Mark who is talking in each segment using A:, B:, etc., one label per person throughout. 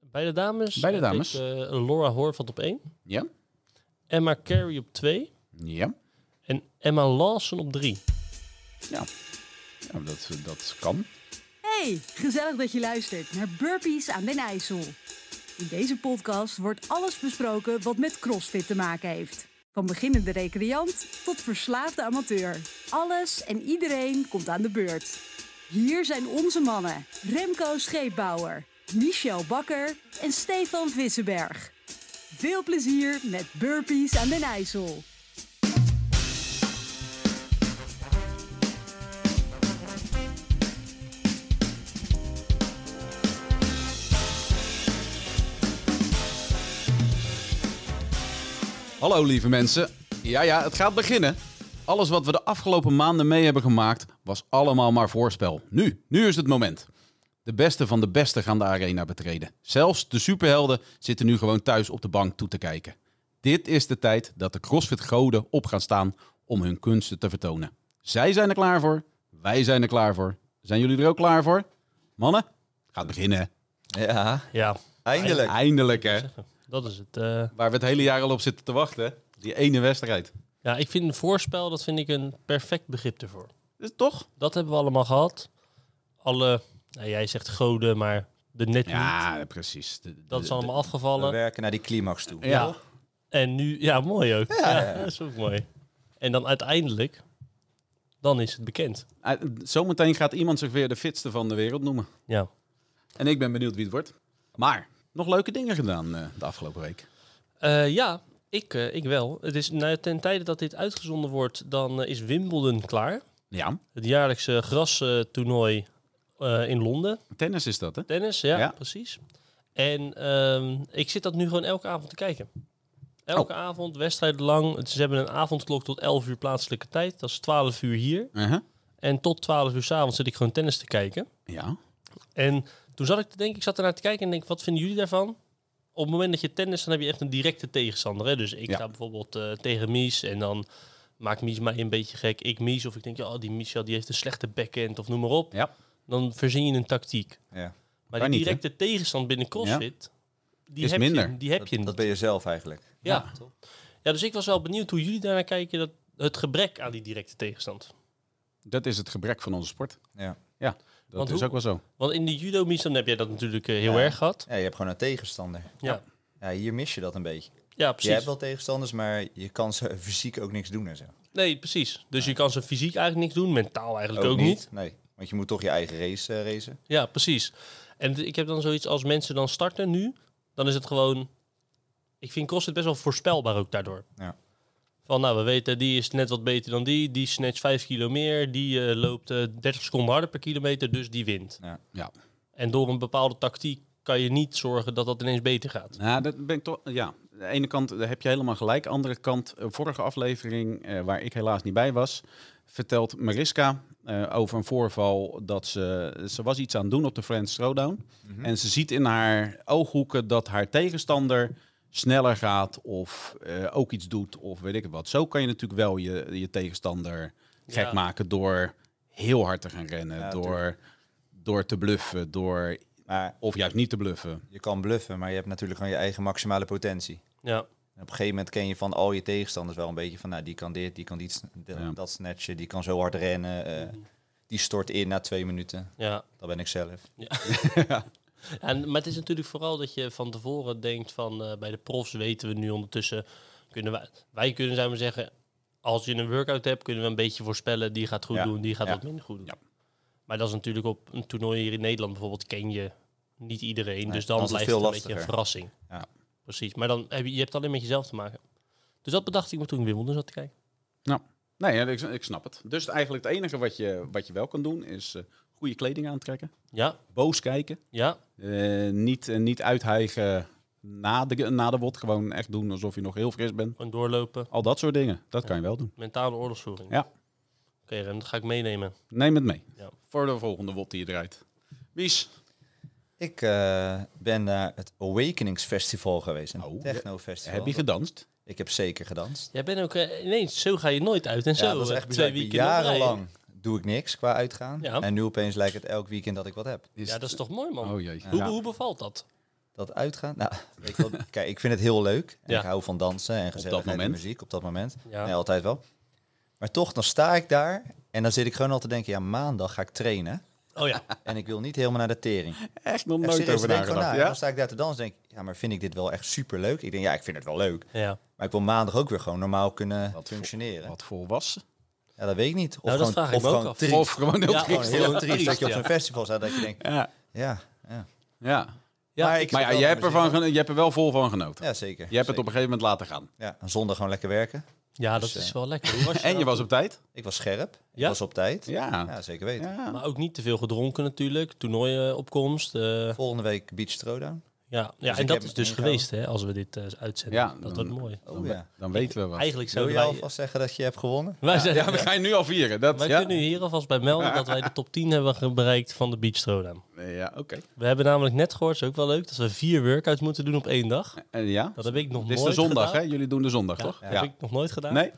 A: Bij de dames.
B: Bij de
A: heb
B: dames.
A: Ik, eh, Laura Horvat op 1.
B: Ja.
A: Emma Carey op 2.
B: Ja.
A: En Emma Lawson op 3.
B: Ja. ja dat, dat kan.
C: Hey, gezellig dat je luistert naar Burpees aan den IJssel. In deze podcast wordt alles besproken wat met CrossFit te maken heeft. Van beginnende recreant tot verslaafde amateur. Alles en iedereen komt aan de beurt. Hier zijn onze mannen Remco Scheepbouwer, Michel Bakker en Stefan Vissenberg. Veel plezier met Burpees aan den IJssel.
B: Hallo lieve mensen. Ja, ja, het gaat beginnen. Alles wat we de afgelopen maanden mee hebben gemaakt was allemaal maar voorspel. Nu, nu is het moment. De beste van de beste gaan de arena betreden. Zelfs de superhelden zitten nu gewoon thuis op de bank toe te kijken. Dit is de tijd dat de CrossFit-goden op gaan staan om hun kunsten te vertonen. Zij zijn er klaar voor. Wij zijn er klaar voor. Zijn jullie er ook klaar voor? Mannen, gaat beginnen.
D: Ja,
A: Ja,
D: eindelijk.
B: Eindelijk hè.
A: dat is het. eh.
B: Waar we het hele jaar al op zitten te wachten. Die ene wedstrijd.
A: ja, ik vind een voorspel, dat vind ik een perfect begrip ervoor.
B: Dus toch?
A: Dat hebben we allemaal gehad. Alle, nou, jij zegt goden, maar de net niet.
B: Ja, precies. De-
A: Dat
B: de-
A: is allemaal
D: We
A: afgevallen.
D: werken naar die climax toe.
A: Ja. En nu, ja, mooi ook. Ja, dat is ook mooi. En dan uiteindelijk, dan is het bekend.
B: de- eh, Zometeen gaat iemand zich weer de fitste van de wereld noemen.
A: Ja.
B: En ik ben benieuwd wie het wordt. Maar, nog leuke dingen gedaan eh, de afgelopen week.
A: Eh, ja, ik, eh, ik wel. Het is, nou, ten tijde dat dit uitgezonden wordt, dan eh, is Wimbledon klaar.
B: Ja,
A: Het jaarlijkse grastoernooi eh in Londen.
B: tennis is dat hè?
A: Tennis, ja,
B: Ja.
A: precies. En ehm, ik zit dat nu gewoon elke avond te kijken. Elke avond, wedstrijden lang. Ze hebben een avondklok tot 11 uur plaatselijke tijd. Dat is 12 uur hier.
B: Uh-huh.
A: En tot 12 uur s'avonds zit ik gewoon tennis te kijken.
B: Ja.
A: En toen zat ik te denken, ik zat ernaar te kijken en denk, wat vinden jullie daarvan? Op het moment dat je tennis, dan heb je echt een directe tegenstander. Hè? Dus ik
B: Ja.
A: ga bijvoorbeeld eh, tegen Mies en dan maakt Mies mij een beetje gek. Ik Mies of ik denk, ja, oh, die Michel die heeft een slechte backhand of noem maar op.
B: Ja.
A: Dan verzin je een tactiek.
D: Ja.
A: Maar
B: Kan
A: die
B: niet, hè?
A: directe tegenstand binnen CrossFit, die
B: Is
A: heb
B: minder.
A: je, die heb
D: Dat,
A: je niet.
D: dat ben je zelf eigenlijk.
A: ja.
D: Ja,
A: Ja, dus ik was wel benieuwd hoe jullie daarnaar kijken, dat, het gebrek aan die directe tegenstand.
B: Dat is het gebrek van onze sport.
D: Ja.
B: Ja, dat
A: Want
B: is
A: hoe-
B: ook wel zo.
A: Want in de judo-mies, dan heb jij dat natuurlijk eh, heel
D: Ja.
A: erg gehad.
D: Ja, je hebt gewoon een tegenstander.
A: Ja,
D: Ja, hier mis je dat een beetje.
A: ja
D: Je
A: precies.
D: hebt wel tegenstanders, maar je kan ze fysiek ook niks doen en zo.
A: Nee, precies. Dus je kan ze fysiek eigenlijk niks doen, mentaal eigenlijk ook, niet.
D: Nee, want je moet toch je eigen race eh, racen.
A: Ja, precies. En d- ik heb dan zoiets als mensen dan starten nu, dan is het gewoon. Ik vind CrossFit best wel voorspelbaar ook daardoor.
D: Ja.
A: Van nou, we weten die is net wat beter dan die, die snatcht 5 kilo meer, die eh, loopt eh, 30 seconden harder per kilometer, dus die wint.
B: Ja.
A: En door een bepaalde tactiek kan je niet zorgen dat dat ineens beter gaat.
B: Nou, dat ben ik toch. Ja, aan de ene kant daar heb je helemaal gelijk. Aan de andere kant, eh, vorige aflevering, eh, waar ik helaas niet bij was, vertelt Mariska eh, over een voorval dat ze. Ze was iets aan het doen op de Friends Throwdown. En ze ziet in haar ooghoeken dat haar tegenstander sneller gaat of eh, ook iets doet of weet ik het wat. Zo kan je natuurlijk wel je, je tegenstander gek
A: Ja.
B: maken door heel hard te gaan rennen,
D: Ja,
B: door, door te bluffen, door,
D: Maar
B: of juist niet te bluffen.
D: je kan bluffen, maar je hebt natuurlijk gewoon je eigen maximale potentie.
A: Ja,
D: En op een gegeven moment ken je van al je tegenstanders wel een beetje van, nou, die kan dit, die kan dit, sn- de-
B: Ja.
D: dat snatchen, die kan zo hard rennen. eh, die stort in na twee minuten.
A: ja.
D: Dat ben ik zelf.
A: En, maar het is natuurlijk vooral dat je van tevoren denkt van eh, bij de profs weten we nu ondertussen kunnen wij, wij kunnen zou ik maar zeggen als je een workout hebt kunnen we een beetje voorspellen die gaat goed
D: Ja,
A: doen, die gaat
D: ja.
A: wat minder goed doen.
B: Ja.
A: Maar dat is natuurlijk op een toernooi hier in Nederland bijvoorbeeld ken je niet iedereen, dus dan
D: dan is het
A: blijft
D: veel
A: het een beetje een
D: lastiger.
A: verrassing.
D: Ja.
A: Precies, maar dan heb je, je hebt het alleen met jezelf te maken. Dus dat bedacht ik me toen ik Wimbledon zat te kijken.
B: Nee, ja, ik, ik snap het. Dus eigenlijk het enige wat je, wat je wel kan doen is eh, goede kleding aantrekken.
A: Ja,
B: Boos kijken.
A: ja,
B: Eh, niet, eh, niet uithijgen na de, na de wot. Gewoon echt doen alsof je nog heel fris bent.
A: gewoon doorlopen,
B: Al dat soort dingen. Dat kan je wel doen.
A: mentale oorlogsvoering.
B: Ja.
A: Oké, Rem, dat ga ik meenemen.
B: Neem het mee.
A: Ja.
B: Voor de volgende wot die je draait. Mies.
D: Ik eh, ben naar het Awakenings Festival geweest, een
B: Oh,
D: techno festival.
B: Heb je gedanst?
D: ik heb zeker gedanst.
A: Jij bent ook eh, ineens, zo ga je nooit uit en zo.
D: ja, dat is
A: eh,
D: echt bizar.
A: twee
D: Ik ben
A: weken
D: Jarenlang doe ik niks qua uitgaan.
A: Ja.
D: En nu opeens lijkt het elk weekend dat ik wat heb.
A: Ja, dat is toch mooi, man?
B: Oh jee.
A: Hoe,
B: Ja.
A: hoe bevalt dat?
D: dat uitgaan. Nou, weet ik wel, kijk, ik vind het heel leuk. En
A: Ja.
D: Ik hou van dansen en gezelligheid en
B: moment.
D: muziek op dat moment.
A: Ja.
D: Nee, altijd wel. Maar toch, dan sta ik daar en dan zit ik gewoon al te denken... ja, maandag ga ik trainen
A: Oh ja.
D: en ik wil niet helemaal naar de tering.
B: Echt nog
D: Echt
B: nooit
D: serieus,
B: over
D: dan denk ik
B: nagedacht.
D: gewoon, nou, en
B: Ja?
D: dan sta ik daar te dansen en denk ik... ja, maar vind ik dit wel echt superleuk? Ik denk, ja, ik vind het wel leuk.
A: ja.
D: Maar ik wil maandag ook weer gewoon normaal kunnen
B: Wat voor-
D: functioneren.
B: Wat voor was?
D: Ja, dat weet ik niet. Of
B: Nou,
A: dat
D: gewoon,
A: vraag ik
D: of
A: me ook
D: gewoon
A: af.
D: triest.
B: Of gewoon heel
A: Ja,
D: Gewoon
B: triest.
A: oh,
D: heel
A: Ja,
D: triest dat je op
A: ja.
D: zo'n festival staat dat je denkt,
B: Ja,
D: ja, ja.
B: ja.
A: Ja,
D: Maar ik-
B: Maar ja,
D: wel
B: jij
D: naar
B: hebt, ervan,
D: mezelf.
B: geno- je hebt er wel vol van genoten.
D: ja zeker.
B: Je hebt het op een gegeven moment laten gaan.
D: Ja, zondag gewoon lekker werken.
A: ja, dat
D: Dus, eh,
A: is wel lekker. Hoe was je
B: En je
A: nou?
B: was op tijd?
D: Ik was scherp. Ik
A: Ja?
D: was op tijd.
B: Ja.
D: Ja, zeker weten.
B: Ja.
A: Maar ook niet te veel gedronken natuurlijk. Toernooiopkomst. eh
D: Volgende week Beach Throwdown.
A: ja, ja
D: ik
A: en
D: heb
A: dat
D: me
A: is dus
D: ingehouden.
A: geweest hè, als we dit eh, uitzenden.
B: Ja,
A: dat
B: dan-
A: wordt mooi.
D: Oh ja.
B: Dan weten we wat.
A: Eigenlijk
D: Zou
A: zouden
D: je
A: wij...
D: alvast zeggen dat je hebt gewonnen?
A: wij zijn,
B: Ja, we gaan je nu al vieren. Dat,
A: wij
B: ja.
A: kunnen hier alvast bij melden dat wij de top 10 hebben ge- bereikt van de Beach Throwdown.
B: Nee, Ja, oké.
A: We hebben namelijk net gehoord, is ook wel leuk, dat we vier workouts moeten doen op één dag.
B: En ja?
A: Dat heb ik nog
B: Dit is de
A: nooit
B: zondag, hè?
A: gedaan.
B: Jullie doen de zondag,
A: Ja,
B: toch?
A: Dat heb ik nog nooit gedaan.
B: Nee?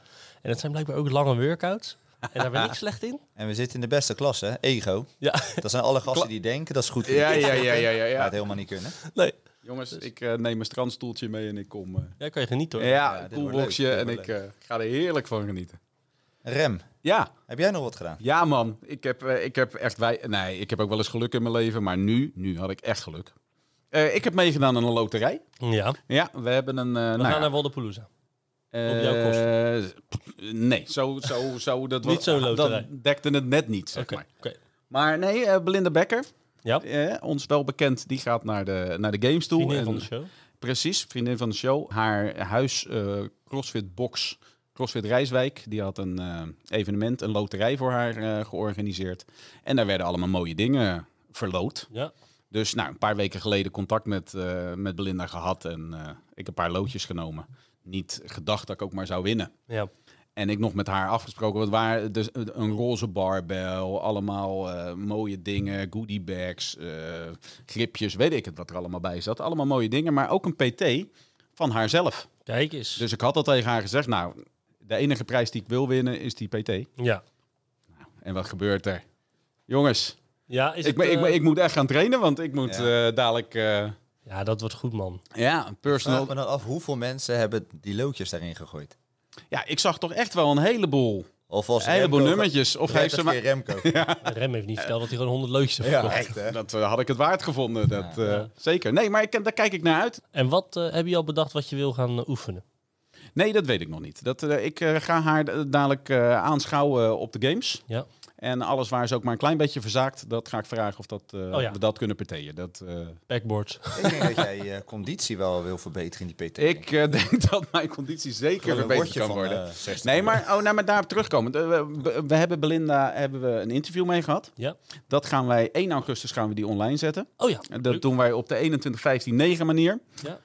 A: En dat zijn blijkbaar ook lange workouts. En daar ben ik slecht in.
D: En we zitten in de beste klasse, hè? ego.
A: Ja,
D: Dat zijn alle gasten die denken, dat is goed. voor de
B: Ja,
D: kids.
B: ja, ja, ja, ja, ja.
D: Gaat helemaal niet kunnen.
A: nee.
B: Jongens, ik eh, neem een strandstoeltje mee en ik kom. eh,
A: Daar kan je genieten hoor.
B: ja,
D: dit
B: een
D: wordt
B: koelboxje
D: leuk,
B: en
D: dit
B: ik
D: wordt
B: eh, ga er heerlijk van genieten.
D: Rem,
B: Ja,
D: heb jij nog wat gedaan?
B: ja man. Ik heb, eh, ik heb echt wij. Nee, ik heb ook wel eens geluk in mijn leven, maar nu, nu had ik echt geluk. Eh, ik heb meegedaan aan een loterij.
A: Ja. We
B: Ja, we hebben een. eh, nou
A: gaan
B: ja,
A: naar Woldapalooza.
B: eh,
A: op jouw
B: pff, Nee, zo, zo, zo. Dat was-
A: Niet zo'n loterij.
B: Dat dekte het net niet, zeg
A: Oké.
B: maar.
A: Oké.
B: Maar nee, eh, Belinda Becker,
A: Ja,
B: eh, ons wel bekend, die gaat naar de, naar de games toe.
A: vriendin
B: En-
A: van de show.
B: Precies, vriendin van de show. Haar huis eh, CrossFit Box, CrossFit Rijswijk, die had een eh, evenement, een loterij voor haar eh, georganiseerd. En daar werden allemaal mooie dingen verloot.
A: Ja.
B: Dus nou, een paar weken geleden contact met, eh, met Belinda gehad en eh, ik een paar loodjes genomen. Niet gedacht dat ik ook maar zou winnen.
A: Ja.
B: En ik nog met haar afgesproken. Want waar dus een roze barbel, allemaal eh, mooie dingen, goodie bags, eh, gripjes, weet ik het wat er allemaal bij zat. Allemaal mooie dingen, maar ook een PT van haarzelf.
A: Kijk eens.
B: Dus ik had al tegen haar gezegd, nou, de enige prijs die ik wil winnen is die PT.
A: ja.
B: En wat gebeurt er? Jongens,
A: Ja, is
B: ik,
A: het,
B: ben- ik, ben-
A: eh,
B: ik moet echt gaan trainen, want ik moet
D: Ja.
B: eh, dadelijk... eh,
A: ja, dat wordt goed man.
B: ja, een
D: Vraag
B: personal...
D: me dan af, hoeveel mensen hebben die loodjes daarin gegooid?
B: Ja, ik zag toch echt wel een heleboel,
D: Of was
B: een heleboel
D: Remco-
B: nummertjes. Of
D: Red
B: heeft ze
D: het
B: maar...
D: weer Remco?
A: Rem heeft niet verteld dat hij gewoon 100 loodjes heeft
D: Ja,
A: verkocht.
D: echt hè?
B: Dat eh, had ik het waard gevonden. Dat, eh,
A: Ja.
B: Zeker. Nee, maar ik, eh, daar kijk ik naar uit.
A: En wat eh, heb je al bedacht wat je wil gaan eh, oefenen?
B: Nee, dat weet ik nog niet. Dat, eh, ik eh, ga haar eh, dadelijk eh, aanschouwen op de games.
A: Ja.
B: En alles waar ze ook maar een klein beetje verzaakt, dat ga ik vragen of dat, eh,
A: Oh ja.
B: we dat kunnen partijen. Dat, eh,
A: Backboards.
D: Ik denk dat jij je conditie wel wil verbeteren in die PT.
B: ik eh, denk dat mijn conditie zeker weer beter kan worden.
A: eh,
D: eh,
B: nee, maar, oh, nou, maar daarop terugkomen. Eh, we, we hebben Belinda hebben we een interview mee gehad.
A: Ja.
B: Dat gaan wij 1 augustus gaan we die online zetten.
A: Oh ja.
B: En
A: leuk.
B: Dat doen wij op de 21 15 9 manier.
A: Ja.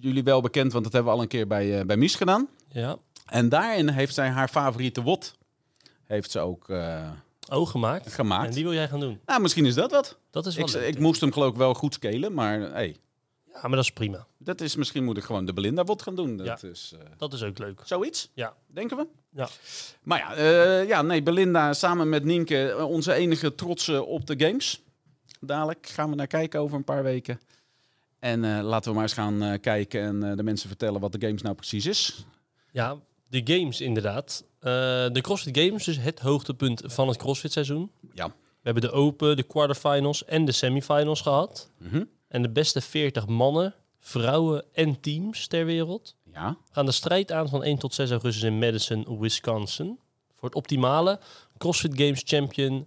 B: Jullie wel bekend, want dat hebben we al een keer bij, eh, bij Mies gedaan.
A: ja.
B: En daarin heeft zij haar favoriete wot heeft ze ook eh,
A: Oh, gemaakt.
B: gemaakt.
A: En die wil jij gaan doen.
B: Nou, misschien is dat wat.
A: Dat is wel
B: Ik,
A: leuk.
B: ik moest hem geloof ik wel goed scalen, maar hey,
A: Ja, maar dat is prima.
B: dat is misschien moet ik gewoon de Belinda wot gaan doen. Dat is eh,
A: Dat is ook leuk.
B: zoiets,
A: Ja.
B: denken we.
A: Ja.
B: Maar ja, eh, ja, nee, Belinda samen met Nienke, eh, onze enige trotsen op de games. Dadelijk gaan we naar kijken over een paar weken. En eh, laten we maar eens gaan eh, kijken en eh, de mensen vertellen wat de games nou precies is.
A: Ja, de games inderdaad. Eh, de CrossFit Games, dus het hoogtepunt van het CrossFit seizoen.
B: Ja.
A: We hebben de Open, de quarterfinals en de semifinals gehad.
B: Mhm.
A: En de beste 40 mannen, vrouwen en teams ter wereld
B: Ja.
A: gaan de strijd aan van 1 tot 6 augustus in Madison, Wisconsin. Voor het optimale CrossFit Games Champion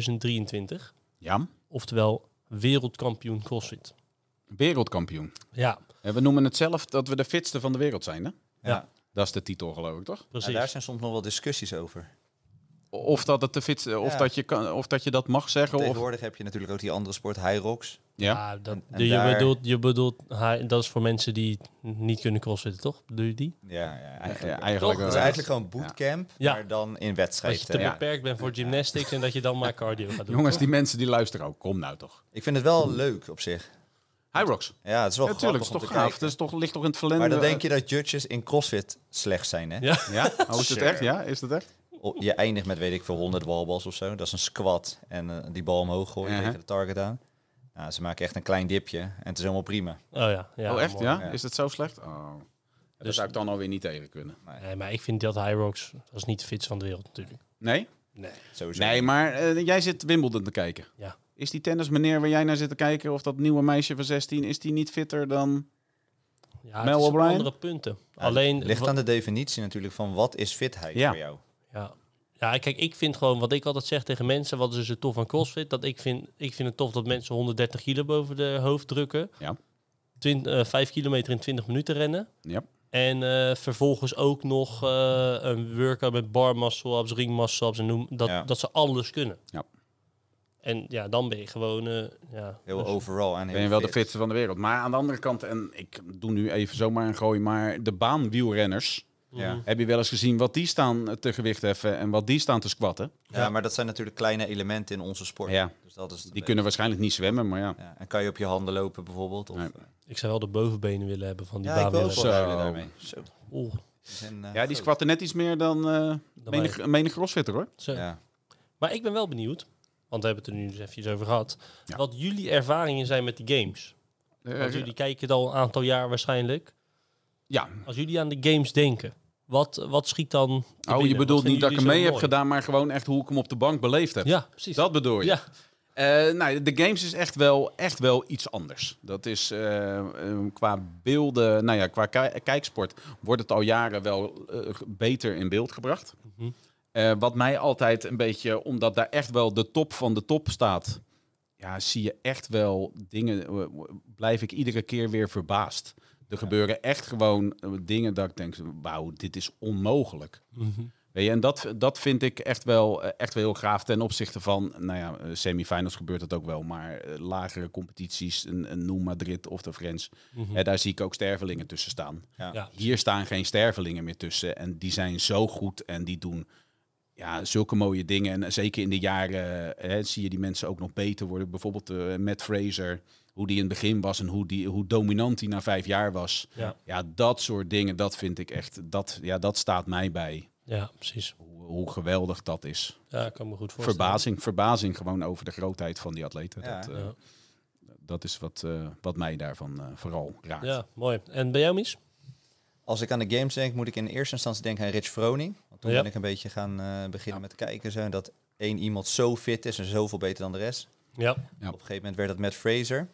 A: 2023.
B: Ja.
A: Oftewel wereldkampioen CrossFit.
B: Wereldkampioen.
A: Ja,
B: En we noemen het zelf dat we de fitste van de wereld zijn, hè?
A: Ja.
B: Dat is de titel, geloof ik, toch?
A: precies.
D: daar zijn soms nog wel discussies over.
B: Of dat het de fitste, of,
D: Ja.
B: dat, je kan, of dat je dat mag zeggen. Of,
D: Tegenwoordig heb je natuurlijk ook die andere sport, Hyrox.
B: ja.
A: Ah, dat,
D: En
A: de- je,
D: daar-
A: bedoelt, je bedoelt, ha- dat is voor mensen die niet kunnen crossfitten, toch? Bedoel je die?
D: Ja, ja, eigenlijk.
B: Ja,
A: Toch?
B: eigenlijk
A: Dat
D: Dat
B: wel.
D: is eigenlijk gewoon bootcamp,
A: Ja.
D: maar dan in
A: Dat je te
D: wedstrijden.
B: ja.
A: beperkt bent voor gymnastics en dat je dan maar cardio gaat doen.
B: Jongens, die mensen die luisteren ook. Kom nou toch.
D: Ik vind het wel leuk op zich.
B: Hyrox.
D: Ja, het is wel
B: Ja, tuurlijk, is
D: grappig om
B: toch
D: te
B: gaaf. Dus-
D: kijken.
B: Dat is toch, ligt toch in het verlengde. eh,
D: Maar dan denk je dat judges in CrossFit slecht zijn, hè?
A: Ja.
B: Ja? Oh, is het echt? Ja, is dat echt?
D: O- Je eindigt met, weet ik veel, 100 wallballs of zo. Dat is een squat en eh, die bal omhoog gooien
B: Ja, hè?
D: tegen de target aan. Nou, ze maken echt een klein dipje en het is helemaal prima.
A: Oh ja. ja
B: oh, echt?
A: mooi.
B: ja?
D: Ja.
B: Is dat zo slecht? Oh. Dat
A: Dus-
B: zou ik dan alweer niet tegen kunnen.
A: Nee, maar ik vind dat High Rocks, dat is niet de fitste van de wereld natuurlijk.
B: Nee?
A: Nee.
D: Sowieso.
B: Nee, maar eh, jij zit Wimbledon te kijken.
A: Ja.
B: Is die tennismeneer waar jij naar zit te kijken, of dat nieuwe meisje van 16, is die niet fitter dan...
A: Ja,
B: Mel
A: het is op
B: O'Brien?
A: andere punten.
D: Ja,
A: Alleen...
D: ligt
A: wa-
D: aan de definitie natuurlijk van wat is fitheid
B: Ja.
D: voor jou.
A: Ja. ja, kijk, ik vind gewoon wat ik altijd zeg tegen mensen, wat is het tof aan CrossFit? Dat ik vind, ik vind het tof dat mensen 130 kilo boven de hoofd drukken.
B: Ja.
A: Twin- eh, vijf kilometer in 20 minuten rennen.
B: Ja.
A: En eh, vervolgens ook nog eh, een workout met bar muscle ups, ring muscle ups en noem dat,
D: Ja.
A: dat ze alles kunnen.
B: Ja.
A: En ja, dan ben je gewoon eh, ja,
D: Heel
A: dus-
D: overal en heel
B: Ben je wel de
D: fit.
B: fitste van de wereld. Maar aan de andere kant, en ik doe nu even zomaar een gooi, maar de baanwielrenners...
D: Ja.
B: Heb je wel eens gezien wat die staan eh, te gewicht heffen en wat die staan te squatten?
D: Ja, maar dat zijn natuurlijk kleine elementen in onze sport.
B: Ja.
D: Dus dat is
B: Die kunnen waarschijnlijk niet zwemmen, maar ja.
D: Ja, en kan je op je handen lopen bijvoorbeeld? Of,
B: Nee.
D: eh,
A: Ik zou wel de bovenbenen willen hebben van die
D: ja, ik wil ook
A: baanwielrenners.
D: wel
B: Zo.
D: huilen daarmee. Zo.
A: Oeh,
D: Die zijn, eh,
B: Ja, die
D: groot.
B: squatten net iets meer dan eh
A: dan
B: menig, menig crossfitter, hoor.
A: zo.
D: Ja.
A: Maar ik ben wel benieuwd, want we hebben het er nu dus even over gehad,
B: Ja.
A: wat jullie ervaringen zijn met de games. Want jullie kijken het al een aantal jaar waarschijnlijk.
B: Ja,
A: Als jullie aan de games denken, wat, wat schiet dan te
B: Oh,
A: binnen?
B: je
A: Wat
B: bedoelt
A: vinden
B: niet dat
A: jullie
B: ik hem mee
A: zo
B: heb
A: mooi?
B: gedaan, maar gewoon echt hoe ik hem op de bank beleefd heb.
A: Ja, precies.
B: Dat bedoel je.
A: ja.
B: Eh, nou, de games is echt wel, echt wel iets anders. Dat is eh, eh, qua beelden, nou ja, qua ki- kijksport wordt het al jaren wel eh, g- beter in beeld gebracht.
A: Mhm.
B: Eh, wat mij altijd een beetje, omdat daar echt wel de top van de top staat, ja, zie je echt wel dingen, eh, w- blijf ik iedere keer weer verbaasd. Er gebeuren echt gewoon eh, dingen dat ik denk, wauw, dit is onmogelijk.
A: Mhm.
B: Weet je, en dat, dat vind ik echt wel, eh, echt wel heel gaaf ten opzichte van, nou ja, eh, semifinals gebeurt dat ook wel, maar eh, lagere competities, een, een noem Madrid of de Friends,
A: Mhm.
B: eh, daar zie ik ook stervelingen tussen staan.
D: Ja.
A: Ja.
B: Hier staan geen stervelingen meer tussen en die zijn zo goed en die doen ja, zulke mooie dingen. En eh, zeker in de jaren eh, zie je die mensen ook nog beter worden. Bijvoorbeeld eh, Matt Fraser, hoe die in het begin was en hoe, die, hoe dominant die na vijf jaar was.
A: Ja.
B: Ja, dat soort dingen, dat vind ik echt, dat, ja, dat staat mij bij
A: ja, precies.
B: hoe, hoe geweldig dat is.
A: Ja, ik kan me goed voorstellen.
B: Verbazing, verbazing gewoon over de grootheid van die atleten.
D: Ja.
B: Dat, eh,
A: Ja.
B: dat is wat, eh, wat mij daarvan eh, vooral raakt.
A: ja, mooi. En bij jou, Mies?
D: Als ik aan de games denk, moet ik in eerste instantie denken aan Rich Froning. Want toen
A: Ja.
D: ben ik een beetje gaan eh, beginnen met kijken. Zo, dat één iemand zo fit is en zoveel beter dan de rest.
A: Ja.
B: Ja.
D: Op een gegeven moment werd dat met Fraser.